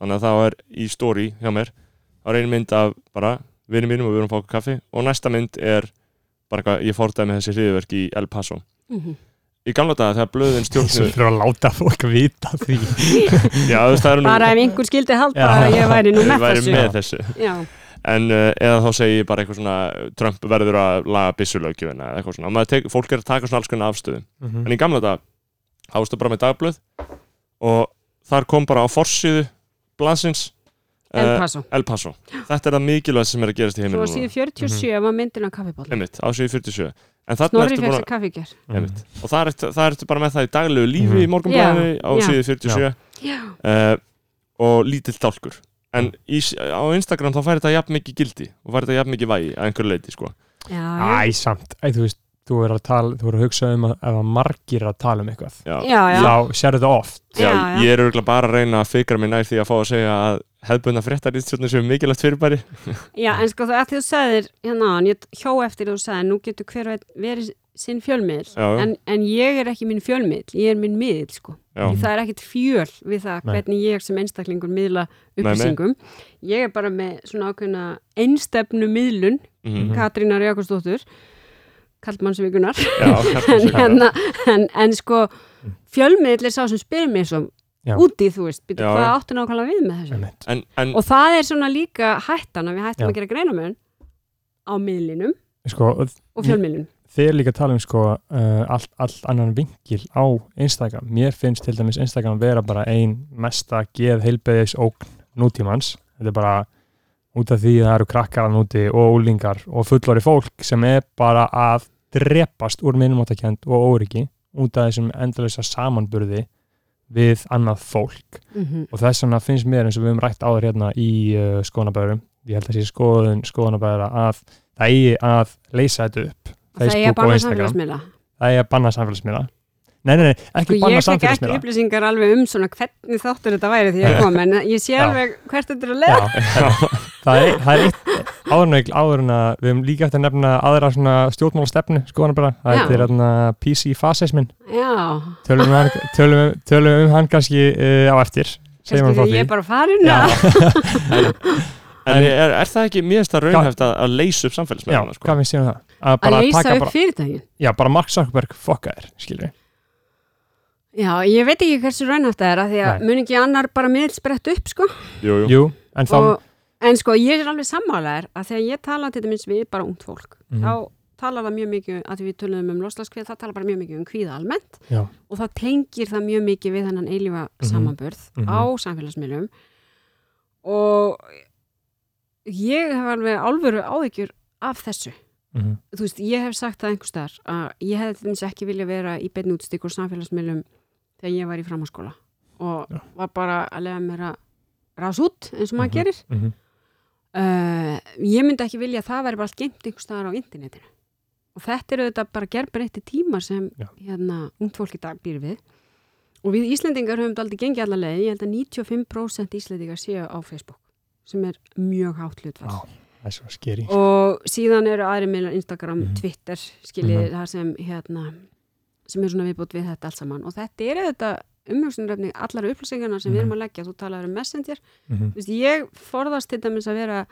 S1: þannig að þá er í story hjá mér þá er einu mynd af bara vinum mínum og við erum að fá okkur kaffi og næsta mynd er bara hvað ég fórtaði með þessi hriðiverki í El Paso
S4: Mhm.
S1: í gamla daga þegar blöðin
S2: Þú
S1: stjórnum
S2: fyrir að láta fólk vita því.
S1: já, þú veist, það er nú
S4: bara ef einhver skildi halda
S2: Já.
S4: að ég væri nú
S1: ég
S4: með
S1: væri
S4: þessu
S1: með þessu
S4: Já.
S1: en uh, eða þá segi ég bara eitthvað svona Trump verður að laga byssulöggjöfina eða eitthvað svona, Og maður tek, fólk er að taka svona alls konar afstöðu en í gamla dag þá varstu bara með dagblöð og þar kom bara á forsíðu blansins Eh,
S4: El Paso
S1: El Paso þetta er það mikilvægt sem er að gerast í
S4: Svo
S1: heiminum
S4: síðu 47 var myndin á kaffiból
S1: Einmitt, á síðu 47 en þarna
S4: Snorri
S1: ertu
S4: fekk
S1: búin
S4: sér kaffi í ger
S1: að einmitt. og það ertu, það ertu bara með það í daglegu lífi
S2: Mhm.
S1: í morgunblæðinu á
S4: Já.
S1: síðu 47
S4: Já,
S1: uh, og lítill tálkur en í, á Instagram þá fær þetta jafn mikið gildi og fær þetta jafn mikið vægi að einhverju leiti sko.
S4: já,
S2: Æ, samt, Æ, þú veist, þú er að tala þú er að hugsa um að ef að margir eru að tala um eitthvað
S1: já.
S4: já, já, já,
S2: þá sérðu þetta oft
S1: Já,
S4: já,
S1: ég er örgulega bara að reyna að fikra mig nær því að fá að segja að hefðbundna fréttarýstjórnir sem er mikilvægt fyrirbæri
S4: já, en sko það að því þú sagðir hérna, áðan, ég hjó eftir þú sagðir nú getur hver og einn verið sinn fjölmiðl
S1: Já, já.
S4: en, en ég er ekki minn fjölmiðl, ég er minn miðl sko.
S1: Já.
S4: það er ekkit fjöl við það
S2: Nei.
S4: hvernig ég sem einstaklingur miðla
S1: nei.
S4: upplýsingum ég er bara með svona ákveðna einstefnu miðlun
S1: Mhm.
S4: Katrínar Jakobsdóttur Kallmannsvíkunar
S1: Já, hérna
S4: en,
S1: segir það.
S4: hérna, en, en sko fjölmiðl er sá sem spyr mér svo
S2: Já.
S4: úti þú veist, býtu
S1: Já,
S4: hvað
S1: já.
S4: áttu nákvæmlega við með þessu
S2: Einmitt.
S1: en, en
S4: og það er svona líka hættan að við hættum
S2: Mm. Já.
S4: að gera greinamöðun á miðlinum
S2: sko, og
S4: og fjölmiðlunum
S2: þeir líka tala um sko, uh, allt, allt annan vinkil á Instagram mér finnst til dæmis Instagram vera bara ein mesta geð heilbeðis ógn nútímans þetta er bara út af því að það eru krakkar að núti og úlingar og fullori fólk sem er bara að drepast úr minnumáttakjönd og óryggi út af þessum endalösa samanburði við annað fólk
S4: mm -hmm.
S2: og þess vegna finnst mér eins og við höfum rætt áður hérna í uh, skoðanabæðurum ég held að sé skoðun skoðanabæðara að það eigi að leysa þetta upp
S4: það er
S2: Facebook
S4: bara
S2: og Instagram
S4: samfélagsmiðla
S2: það er að banna samfélagsmiðla nei, nei, nei,
S4: Sko,
S2: ekki
S4: ég
S2: banna
S4: fekk ekki
S2: samfélagsmiðla
S4: upplýsingar alveg um svona hvernig þáttur þetta væri því ég kom en ég sé
S2: Já.
S4: alveg hvert þetta er að leða
S2: Já, það er, það er eitt áðurnaugl áðurna, við höfum líka eftir að nefna aðra svona stjórnmála stefnu skoðan bara, það
S4: Já.
S2: heitir hérna PC-fasismin
S4: Já,
S2: tölum, um hann- tölum, tölum um hann kannski uh, á eftir, segjum hann frá
S4: kannski ég
S2: því
S4: er bara farin
S2: Já.
S4: eða?
S1: En er, er það ekki mér það raunhæft að, að leysa upp
S2: Já,
S1: samfélagsmeðlana sko?
S2: hvað finnst ég um það? Að
S4: að
S2: bara
S4: leysa
S2: taka
S4: upp
S2: bara,
S4: fyrirtækin
S2: já, bara Mark Zuckerberg fokka þér, skilur
S4: Já, ég veit ekki hversu raunhæft það er að því að
S2: Nei.
S4: mun ekki annar bara miðl sprett upp sko
S1: Jú, jú.
S2: Jú, en þá,
S4: og, en sko ég er alveg sammálaðar að þegar ég tala til dæmis við bara ungt fólk
S2: Mhm.
S4: þá tala það mjög mikið að við tölum um loslaskvið það tala bara mjög mikið um kvíða almennt
S2: já,
S4: og það tengir það mjög mikið við hennan eilífa
S2: Mhm.
S4: samanburð
S2: Mhm.
S4: á samfélagsmiðlum og ég hef alveg alvöru áhyggjur af þessu
S2: mhm,
S4: þú veist, ég hef sagt það einhvers staðar að ég hefði til dæmis ekki vilja vera í beinni útstík og samfélagsmiðlum þegar ég var í framháskóla og
S2: Já.
S4: var bara að lega mér að rás út eins og
S2: Mhm.
S4: maður gerir
S2: mhm
S4: Uh, ég myndi ekki vilja að það væri bara allt geimt einhvers staðar á internetinu og þetta eru þetta bara gerbreytti tímar sem
S2: Já.
S4: hérna ungt fólk í dag býr við og við Íslendingar höfum þetta aldrei gengið allar leið, ég held að 95% Íslendingar séu á Facebook sem er mjög hátt hlutfall
S2: Já. það er svo skeri
S4: og síðan eru aðri meðlar Instagram,
S2: Mhm.
S4: Twitter skiljið það sem hérna sem er svona viðbútt við þetta allt saman og þetta eru þetta umhugsunrefni allar upplýsingarna sem við erum að leggja, þú talar um Messenger
S2: mhm,
S4: Þú veist, ég forðast til dæmis að vera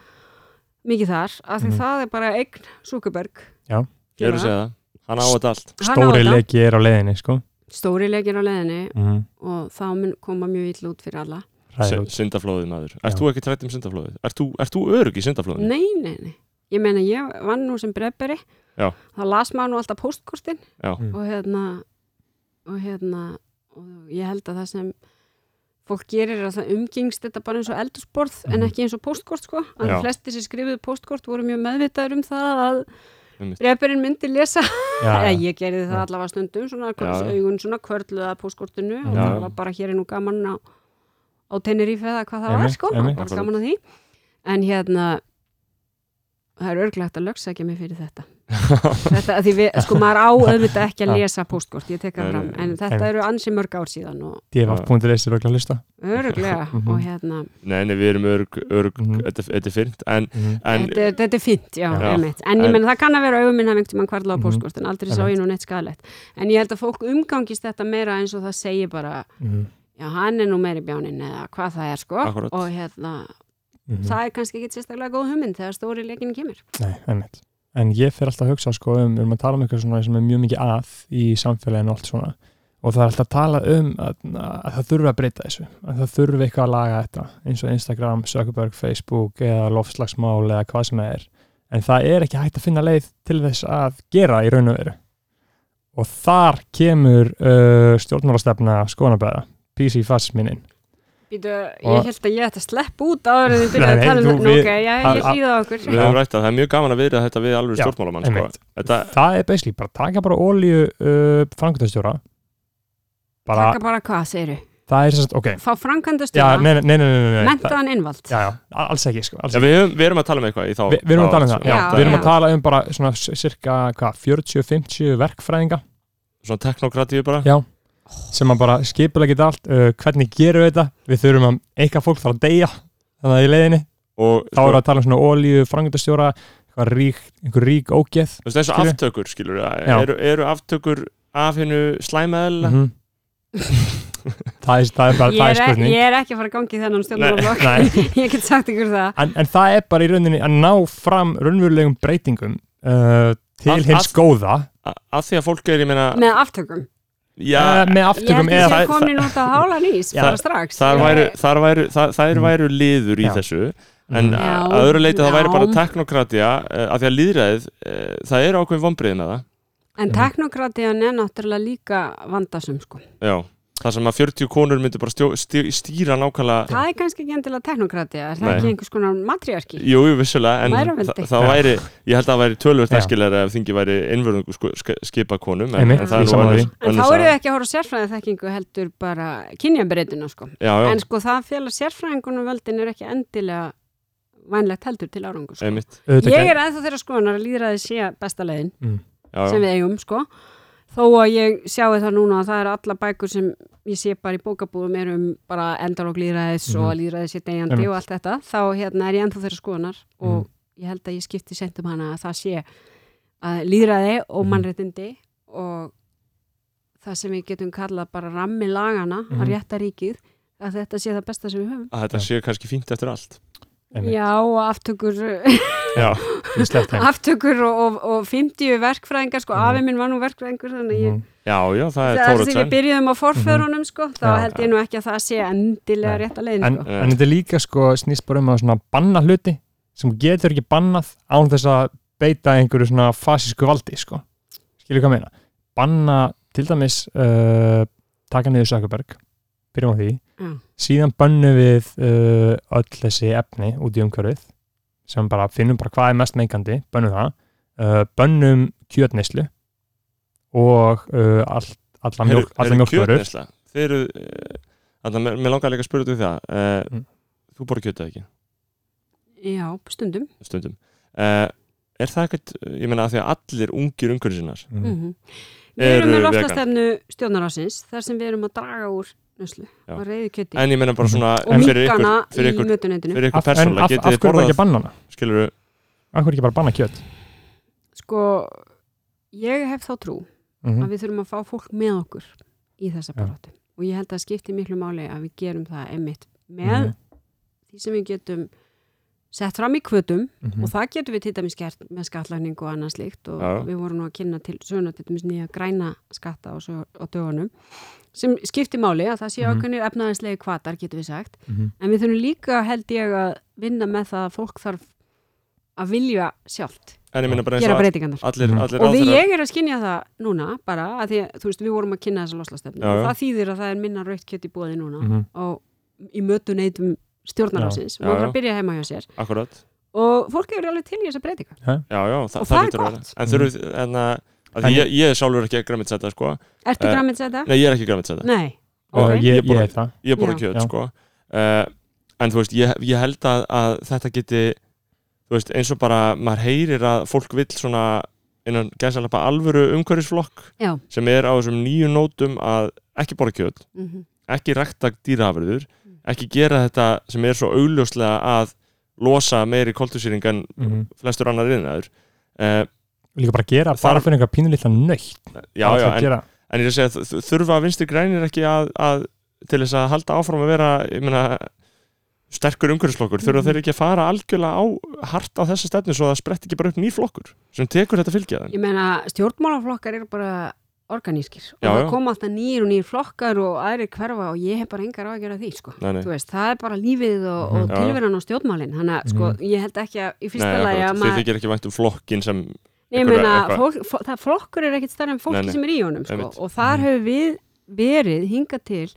S4: mikið þar, af því
S2: Mhm.
S4: það er bara eign Súkaberg
S2: Já.
S1: Ég er að segja það, hann á þetta allt
S2: Stóri leiki er á leiðinni, sko
S4: Stóri leikir á leiðinni
S2: mhm,
S4: og þá mun koma mjög illa út fyrir alla
S2: hræðilegt.
S1: Sy- Syndaflóðið maður,
S2: Já.
S1: ert þú ekki trætt um syndaflóðið? Ert þú, ert þú örug í syndaflóðinu?
S4: Nei, nei, nei Ég meina, ég vann nú sem breyðberi
S1: Já.
S4: Það las maður nú alltaf póstkortin
S1: Já.
S2: Mm.
S4: og hérna og hérna og ég held að það sem fólk gerir er að það umgengst þetta bara eins og eldursborð en
S2: Mhm.
S4: ekki eins og póstkort sko að
S1: Mm. Já.
S4: flesti sem skrifuðu póstkort voru mjög meðvitaður um það að
S1: Einmitt.
S4: breyðberin myndi lesa
S2: Já,
S4: Eða
S2: já.
S4: ég gerði það
S2: Já.
S4: allavega stundum svona
S1: Já.
S4: augun svona kvörluða á póskortinu og
S2: Já.
S4: það var bara hér er nú gaman á, á Tenerife eða hvað það var
S2: Einmitt,
S4: sko, það
S2: einmitt.
S4: var bara gaman á því en hérna það er örglegt að lögsækja mig fyrir þetta þetta að því við, sko maður á auðvitað ekki að
S2: Já.
S4: lesa póstkort, ég tek
S1: Nei,
S4: það fram
S1: nei,
S4: en þetta
S2: einmitt.
S4: eru ansi mörg ár síðan og
S2: df.is er okkur að hlusta
S4: örglega
S2: Mhm.
S4: og hérna,
S1: Nei, nei, við erum örug, örug
S2: Mhm.
S1: þetta, þetta er fyrnt En,
S2: Mhm.
S1: en
S4: þetta, er- þetta er fint já,
S1: Já.
S4: einmitt, en ég
S1: En-
S4: menn það kann að vera augum minn hafði einhvern tímann kvarla á
S2: Mhm.
S4: póstkort en aldrei sá ég nú neitt skadalegt en ég held að fólk umgangist þetta meira eins og það segir bara
S2: Mhm,
S4: já, hann er nú meiri bjáninn eða hvað það er sko
S1: Akkúrat.
S4: og hérna,
S2: mhm.
S4: það er kannski ekki sérstaklega góð hugmynd þegar stóri leikinn kemur
S2: Nei, einmitt. En ég fer alltaf að hugsa sko um, við erum að tala um eitthvað svona sem er mjög mikið að í samfélaginu og allt svona og það er alltaf að tala um að, að það þurfi að breyta þessu, að það þurfi eitthvað að laga þetta eins og Instagram, Zuckerberg, Facebook eða lofslagsmál eða hvað sem það er en það er ekki hægt að finna leið til þess að gera í raun og veru og þar kemur uh, stjórnmálastefna skonabæða, PC-fasminin
S4: Býtu,
S2: Og-
S4: ég held að ég ætti að sleppa út áður en þið
S2: Nei,
S4: byrjaði að
S2: nei,
S4: tala um
S2: þú-
S4: þetta. Nú,
S2: við-
S4: ok, já,
S2: að-
S4: ég
S2: að-
S4: hlýða á okkur.
S1: Við höfum rætt að það er mjög gaman að viðra þetta við alveg
S2: Já,
S1: stjórnmálamann sko.
S2: einmitt.
S1: Þetta,
S2: það er basically bara taka bara ólíu uh, frangutastjóra bara,
S4: Takka bara hvað, segiru.
S2: það er sérst, ok
S4: Fá
S2: já, nei,
S4: framkvæmdastjóra,
S2: nei, nei, nei, nei, nei. Það,
S4: mentaðan innvald.
S2: já, já, alls ekki, sko, alls
S1: ja,
S2: ekki.
S1: við, höfum, við erum að tala um eitthvað í þá
S2: Vi, við erum að tala um það, já,
S4: Já,
S2: við erum
S4: já.
S2: að tala um bara svona s- cirka, hvað, 40-50 verkfræðinga
S1: Svona teknokratíu bara
S2: Já. sem að bara skipulega geta allt uh, hvernig gerum við þetta, við þurfum að eitthvað fólk þarf að deyja, þannig að í leiðinni
S1: og
S2: þá erum við að tala um svona ólíu frangutastjóra eitthvað rík, einhver rík ógeð
S1: Þú veist, þessu
S2: Skilju.
S1: aftökur, skilur það,
S2: Já.
S1: eru, eru aftökur af hennu slæmaðela?
S2: mm það, er, það er bara, það
S4: Ég
S2: er
S4: er, e-
S2: spurning
S4: ég er ekki að fara að gangi þennan stjórnmálaflokk. ég get sagt ykkur það.
S2: en, en það er bara í rauninni að ná fram raunverulegum breytingum uh, til
S1: Að-
S2: hins
S1: að-
S2: góða
S1: Af því að fólk er, ég meina,
S4: Með aftökum.
S1: já,
S2: uh, með
S4: Ég held
S2: aftökum
S4: að
S2: eða
S4: það
S1: það-
S4: komin út á hálan ís,
S1: Já,
S4: bara strax.
S1: þar
S4: Ég-
S1: væru, þar væru, þar, þær
S2: Mm.
S1: væru liður í
S2: Já.
S1: þessu, en
S2: Mm.
S1: að-
S4: Já,
S1: að öðru leiti það væri bara
S4: já.
S1: teknokratía, uh, af því að líðræðið, uh, það er ákveðin vonbriðin að það,
S4: En
S2: Mhm.
S4: teknokratiðan er náttúrulega líka vandasum, sko.
S1: já, þar sem að 40 konur myndu bara stjó, stjó, stýra nákvæmlega,
S4: Það er kannski ekki endilega teknokratiða, er það
S1: Nei.
S4: ekki einhvers konar matriarki?
S1: jú, jú, vissulega, en
S4: Mæðraveldi.
S1: það, það væri, ég held að það væri tölvöld
S2: Já.
S1: æskilega ef þingi væri innvörðungu sko, sk- skipa konum, en,
S2: Einmitt,
S1: en það
S4: ég
S1: er nú
S2: sammála
S1: önnur-
S2: því.
S4: En
S1: önnur
S4: þá eru
S1: saga.
S4: við ekki að horfa sérfræðið þekkingu heldur bara kynjabreytina sko.
S1: Já, já,
S4: En sko það félag sérfræðingunum völdin er ekki endilega vænlegt heldur til árangu sko.
S1: einmitt,
S2: auðvitað
S4: Ég
S2: gæ- Mm,
S4: er ennþá þeirra skoðanar að líðraði sé besta leiðin
S1: já,
S4: sem
S1: já,
S4: við eigum sko. Þó að ég sjáu það núna að það eru alla bækur sem ég sé bara í bókabúðum er um bara endalók líðræðis
S2: Mhm.
S4: og að líðræðis sé degjandi
S2: Einmitt. Mhm.
S4: og allt þetta. Þá hérna er ég ennþá þeirra skoðanar og ég held að ég skipti sent um hana að það sé að líðræði og
S2: Mhm.
S4: mannréttindi og það sem við getum kallað bara rammi lagana
S2: Mhm.
S4: að rétta ríkið að þetta sé það besta sem við höfum.
S1: að þetta sé kannski fínt eftir allt.
S2: Einmitt.
S4: Já og aftökur,
S2: já, ég slepp þeim
S4: aftökur og, og, og 50 verkfræðingar sko,
S2: Mhm.
S4: afi minn var nú verkfræðingur þannig að ég
S2: Mhm.
S1: Já, já, það er Mhm.
S4: Það er sem við
S1: Tóraðsson.
S4: byrjuðum á forförunum sko, þá
S2: Já.
S4: held ég nú ekki að það sé
S2: Nei.
S4: endilega rétt að leiðin
S2: en,
S4: sko.
S2: en þetta er líka sko snýst bara um að svona banna hluti sem þú getur ekki bannað án þess að beita einhverju svona fasísku valdi sko, skilur hvað ég meina banna til dæmis uh, taka niður Sökkaberg byrjum á því,
S4: Já.
S2: síðan bannu við uh, öll þessi efni út í umhverfið sem bara finnum bara hvað er mest meikandi, bönnum það uh, bönnum kjötneyslu og uh, all, alla mjólk, alla mjólkvörur
S1: Þeir eru, eh, þarna, mér mér langar líka að spyrja þú það. Uh,
S2: Mm.
S1: Þú borði kjötað ekki,
S4: Já, stundum
S1: stundum. Uh, er það ekkert, eh, ég meina að því að allir ungir umhverjum sinnar,
S4: mm
S2: mm.
S4: Við
S1: Eru
S4: erum með
S1: vegan.
S4: loftastefnu stjórnarásins þar sem við erum að draga úr nuslu
S1: Já.
S4: og reyðu kjöti
S1: en ég meina bara svona,
S4: og
S1: fyrir
S4: minkana
S1: ykkur, fyrir
S4: í
S1: ykkur,
S4: mötuneytinu
S1: fyrir ykkur
S2: Mhm. af, en
S1: persónulega,
S2: af, af
S1: getið þið
S2: hverju var ekki að
S1: borðað,
S2: banna hana?
S1: skilur þú,
S2: Af hverju ekki bara banna kjöt?
S4: Sko, ég hef þá trú
S2: Mhm,
S1: Mhm.
S4: að við þurfum að fá fólk með okkur í þessa
S2: Já.
S4: baróttu og ég held að það skipti miklu máli að við gerum það einmitt með
S2: Mhm.
S4: því sem við getum sett fram í kvötum
S2: Mhm.
S4: og það getum við til dæmis gert með skattlagning og annað slíkt og
S1: Mm. Já.
S4: við vorum nú að kynna til söguna til dæmis nýja græna skatta á, sög, á dögunum sem skipti máli að það sé
S2: Mhm.
S4: ákveðnir efnaðislegi kvatar getum við sagt
S2: Mhm.
S4: en við þurfum líka held ég að vinna með það að fólk þarf að vilja sjálft
S1: en ég meina bara eins
S4: gera
S1: og all-
S4: breytingarnar
S1: allir,
S2: Mhm.
S1: allir
S4: og við
S1: ráðherrar-
S4: ég er að skinja það núna bara að því að þú veist við vorum að kynna þessa loslastefnu
S1: Já,
S4: og
S1: já.
S4: það þýðir að það er minna raukt kjöt í búði núna
S2: Mhm.
S4: og í mötu neytum stjórnarásins
S1: Já,
S4: og það
S1: já.
S4: byrja heima hjá sér
S1: akkurat,
S4: og fólk hefur alveg til í þessa breytinga
S1: já, já, það,
S4: Og það er
S1: hlýtur að vera.
S4: gott.
S1: En þurfið, en að, af því
S2: En-
S1: ég, ég er sjálfur ekki að græmitsæta, sko,
S4: Ertu
S1: Eh,
S4: grammins þetta?
S1: nei, ég er ekki græmitsæta,
S4: Nei,
S2: og
S4: ok
S2: ég,
S1: Ég
S2: ég
S1: borða-
S2: er það
S1: ég borða
S4: Já.
S1: kjöt
S2: Já.
S1: sko uh, en þú veist, ég, ég held að, að þetta geti þú veist, eins og bara maður heyrir að fólk vill svona innan gæsalappa alvöru umhverfisflokk
S4: Já.
S1: sem er á þessum nýju nótum að ekki borða kjöt,
S4: Mhm.
S1: ekki rækta dýraafurður,
S4: Mm.
S1: ekki gera þetta sem er svo augljóslega að losa meiri koltusýring en
S2: Mhm.
S1: flestur annar innaður uh,
S2: líka bara gera, bara
S1: Þarf-
S2: fyrir einhver pínulítla nöytt
S1: já, já, en,
S2: gera,
S1: en ég er að segja þ- þ- þurfa vinstri grænir ekki að, að til þess að halda áfram að vera ég meina, sterkur umhverfisflokkur þurfa
S4: Mhm.
S1: þeir ekki að fara algjörlega á hart á þessa stefnu svo að það sprett ekki bara upp ný flokkur sem tekur þetta fylgjaðan
S4: Ég meina stjórnmálaflokkar eru bara organískir og
S1: Já,
S4: það
S1: já.
S4: koma alltaf nýr og nýr flokkar og aðrir hverfa og ég hef bara engar á að gera því sko.
S1: Nei, nei.
S4: Þú veist, það er bara lífið og, og
S1: Já,
S2: Mhm.
S1: já.
S4: tilveran og stjórnmálin þannig að sko, ég held ekki að í fyrsta lagi að
S1: þið
S4: maður
S1: þykir ekki vænt um flokkin sem
S4: Nei, ég
S1: Einhverja-
S4: meina,
S1: eitthvað-
S4: fólk, fó- það flokkur er ekkit starra en fólki
S1: Nei, Mm. nei.
S4: sem er í honum sko.
S1: Einmitt.
S4: og þar hefur við verið hinga til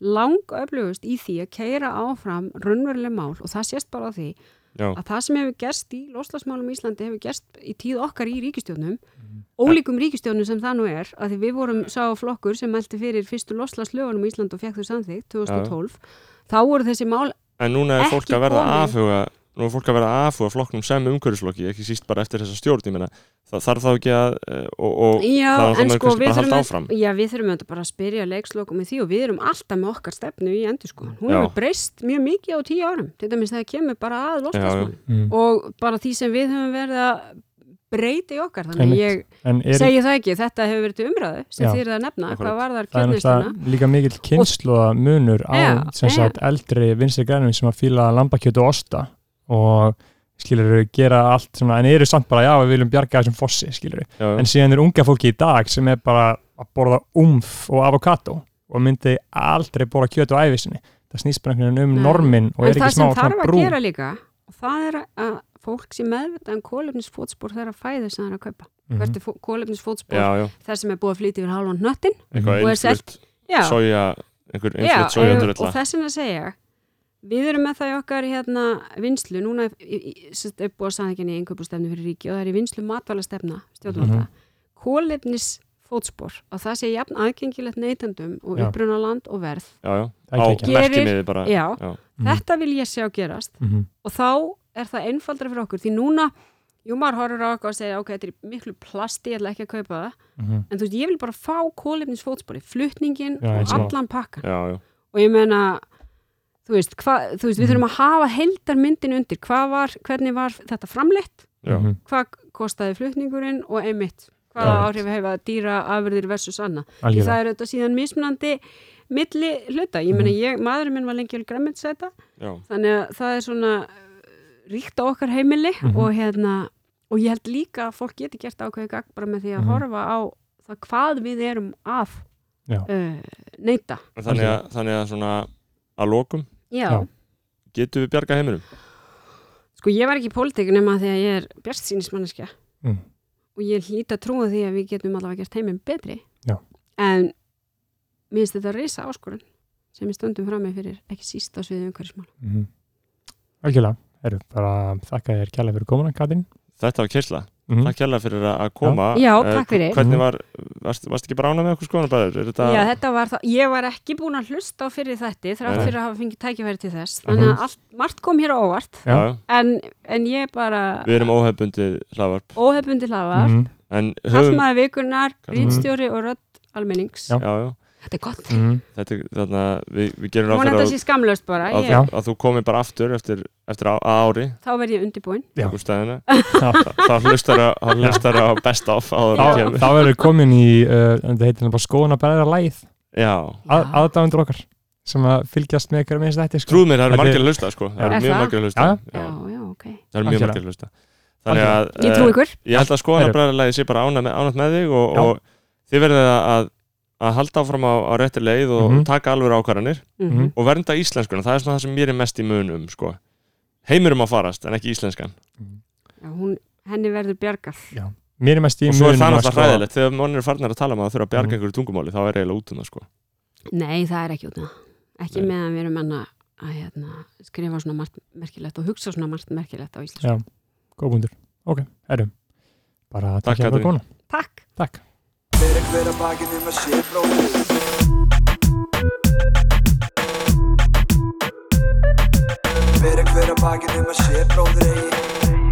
S4: lang öflugust í því að keira áfram raunveruleg mál og það sést bara á því
S1: já,
S4: að það sem hefur gerst í loslasmálum í Íslandi hefur gerst í tíð okkar í ríkistjónum
S1: Mhm.
S4: ólíkum ríkistjónum sem það nú er að því við vorum sá flokkur sem meldi fyrir fyrstu loslaslögunum í Íslandi og fekk þau samþygt 2012 þá voru þessi mál
S1: en núna er
S4: Ekki
S1: fólk að verða
S4: komin.
S1: aðfuga nú er fólk að verða aðfuga flokknum sem umhverfisflokki ekki síst bara eftir þessa stjórn, ég meina það þarf þá ekki að, eh, og, og það
S4: Já,
S1: er
S4: en
S1: þannig
S4: sko
S1: kannski bara
S4: við
S1: að
S4: þurfum,
S1: halda áfram
S4: að, já, við þurfum auðvitað bara að spyrja leikslokum í því og við erum alltaf með okkar stefnu í endur sko. Hún
S1: Já.
S4: hefur breyst mjög mikið á tíu árum, til dæmis þegar kemur bara að lostasmál
S1: Mhm.
S2: Mm.
S4: og bara því sem við höfum verið að breyta í okkar, þannig
S2: Einmitt.
S4: ég
S2: En er,
S4: segi það ekki, þetta hefur verið til umræðu sem
S2: Já.
S4: þið eruð að nefna,
S1: Akkurat.
S4: hvað var þar
S2: það er
S4: kynlistana?
S2: náttúrulega líka mikill kynnslóðamunur á
S4: Já,
S2: sem
S4: já.
S2: sagt eldri vinstri grænum sem að fýla lambakjötu og osta og skilur gera allt svona, en eru samt bara já við viljum bjarga þessum fossi skilur
S1: já, já.
S2: en síðan er unga fólki í dag sem er bara að borða umf og avokado og myndi aldrei borða kjötu á æfisinni það snýst bara einhvern veginn um
S4: Nei.
S2: normin og
S4: En
S2: er ekki
S4: það
S2: smá
S4: sem þarf
S2: svona
S4: að
S2: brú
S4: gera líka, og það er að fólk sé meðvitað um kólefnisfótspor þeirra fæðu sem það er að kaupa.
S2: Mhm.
S4: Hvert er kólefnisfótspor
S1: já, já,
S4: þar sem er búið að flytja yfir halvan nöttin?
S1: eitthvað
S4: Og er selt-
S1: einflutt
S4: Já,
S1: soja, einhver
S4: Já,
S1: einflutt soja
S4: og-
S1: undir
S4: og þess vegna segja ég, við erum með það í okkar hérna vinslu, núna í- í- sem sagt, er búið að samþykja í einhverjumstefnu fyrir ríki og það er í vinslu
S2: Mhm.
S4: matvælastefna stjórnvalda, mm fótspor og það sé jafn aðgengilegt neytendum og
S2: Já.
S4: uppruna land og verð
S1: já, já,
S2: Það
S1: á
S2: er ekki ekki.
S4: Gerir-
S1: merkimiði bara
S4: Já.
S1: já,
S2: Mhm.
S4: þetta vil ég sjá gerast
S2: Mhm.
S4: og þá er það einfaldra fyrir okkur því núna, jú maður horfur á okkur og segir ok, þetta er í miklu plasti, ég ætla ekki að kaupa það
S2: Mhm.
S4: en þú veist, ég vil bara fá kólefnisfótspori flutningin
S2: Já,
S4: og
S2: eins og-
S4: allan pakkan
S1: já, já.
S4: og ég meina þú veist, hva, þú
S2: Mhm.
S4: veist við þurfum að hafa heildarmyndin undir hvað var, hvernig var þetta framleitt
S1: Já.
S2: Mhm.
S4: hvað kostaði flutningurinn og einmitt
S2: Já.
S4: hvaða áhrif hefa dýra afurðir versus anna Því
S2: Algjörlega.
S4: það er auðvitað síðan mismunandi milli hluta, ég
S2: Mhm.
S4: meina ég, maðurinn minn var lengi alveg græmminsæta,
S1: já.
S4: þannig að það er svona uh, ríkt á okkar heimili
S2: Mhm.
S4: og hérna, og ég held líka að fólk geti gert ákveði gagn bara með því að
S2: Mhm.
S4: horfa á það hvað við erum að
S2: Já.
S4: uh, neyta
S1: Þannig, að, þannig að svona að lokum
S4: Já,
S2: Já.
S1: getum við bjarga heiminum
S4: Sko ég var ekki í pólitík nema því að ég er bjart sínismanneskja
S2: Mm.
S4: og ég hlýta trúa því að við getum allavega gert heiminn betri
S2: Já.
S4: en mér finnst þetta reysa áskorun sem við stöndum fram með fyrir ekki síst á sviðið umhverfismál
S2: Mhm. algjörlega, erum bara þakka þér kjærlega fyrir komuna Katrín
S1: Þetta var keisla,
S2: Mhm.
S1: takk hérlega fyrir að að koma
S4: Já,
S1: Eh,
S4: takk fyrir.
S1: Hvernig var, varst, varst ekki bara ána með okkur skoðanabæður? Er þetta
S4: Já, þetta var það, ég var ekki búin að hlusta á fyrir þetta þrátt
S1: Nei.
S4: fyrir að hafa fengið tækifæri til þess þannig að allt, margt kom hér á óvart
S1: Já,
S2: Já.
S4: en, en ég bara
S1: Við erum óhefbundið hlaðvarp
S4: óhefbundi hlaðar, mm.
S2: Mhm.
S1: En höfum
S4: kallmaði vikunar
S1: Mhm.
S4: rýtstjóri og rödd almennings
S2: Já.
S1: já, já,
S4: Þetta er gott,
S2: Mhm.
S1: þetta er þarna Við, við gerum ráð
S4: vonandi
S1: fyrir
S4: að
S1: að,
S4: sé skamlaust bara
S1: að,
S4: ég,
S2: Já.
S1: að þú komir bara aftur eftir, eftir á, að ári
S4: þá verð ég undirbúin
S2: Já.
S1: Úr stæðina
S2: Já.
S1: Þá hlustar á- þá hlustar á best of áður en
S2: Þá-
S1: kemur.
S2: þá erum við komin í uh, þetta heitir bara skóna bræðra læð
S1: Já,
S4: Já.
S2: aðdáðundur okkar sem að fylgjast með hverjum eins þetta sko.
S1: trúð mér, það eru
S2: Þetta er-
S1: margir að hlusta sko. Það eru mjög
S4: Er það?
S1: margir að hlusta
S2: Já.
S1: Já,
S4: Já, já, ok
S1: Það eru mjög
S2: Algjörlega.
S1: margir að hlusta Þannig að eh,
S4: Ég trú ykkur
S1: Ég held að skoðanabræðarlega sé bara ánætt með, ánætt með þig og,
S2: Já.
S1: og þið verðið að, að halda áfram á, á réttir leið og
S2: Mhm.
S1: taka alveg ákvarðanir
S4: Mhm.
S1: og vernda íslenskuna, það er svona það sem mér er mest í munum sko. heimurum að farast en ekki íslenskan
S4: Já, hún, henni verður bjargað.
S2: mér er mest í
S1: og svo er
S2: munum
S1: það
S2: að
S1: náttúrulega
S2: sko-
S1: hræðilegt þegar mannir er farnar að tala um að það þurfa að bjarga
S2: Mhm.
S1: einhverju tungumáli þá er eiginlega út um það sko.
S4: Nei, það er ekki út af það. Ekki
S1: Nei.
S4: meðan við erum enn að, að hérna, skrifa svona margt merkilegt og hugsa svona margt merkilegt á Íslands.
S2: Já. góð búndur, ok, erum bara
S1: Takk,
S2: takk hjá
S1: Katrín.
S2: fyrir komuna
S4: Takk!
S2: takk
S3: Fyrir hver að bakinu maður sé bróðir Fyrir hver að bakinu maður sé bróðir eigi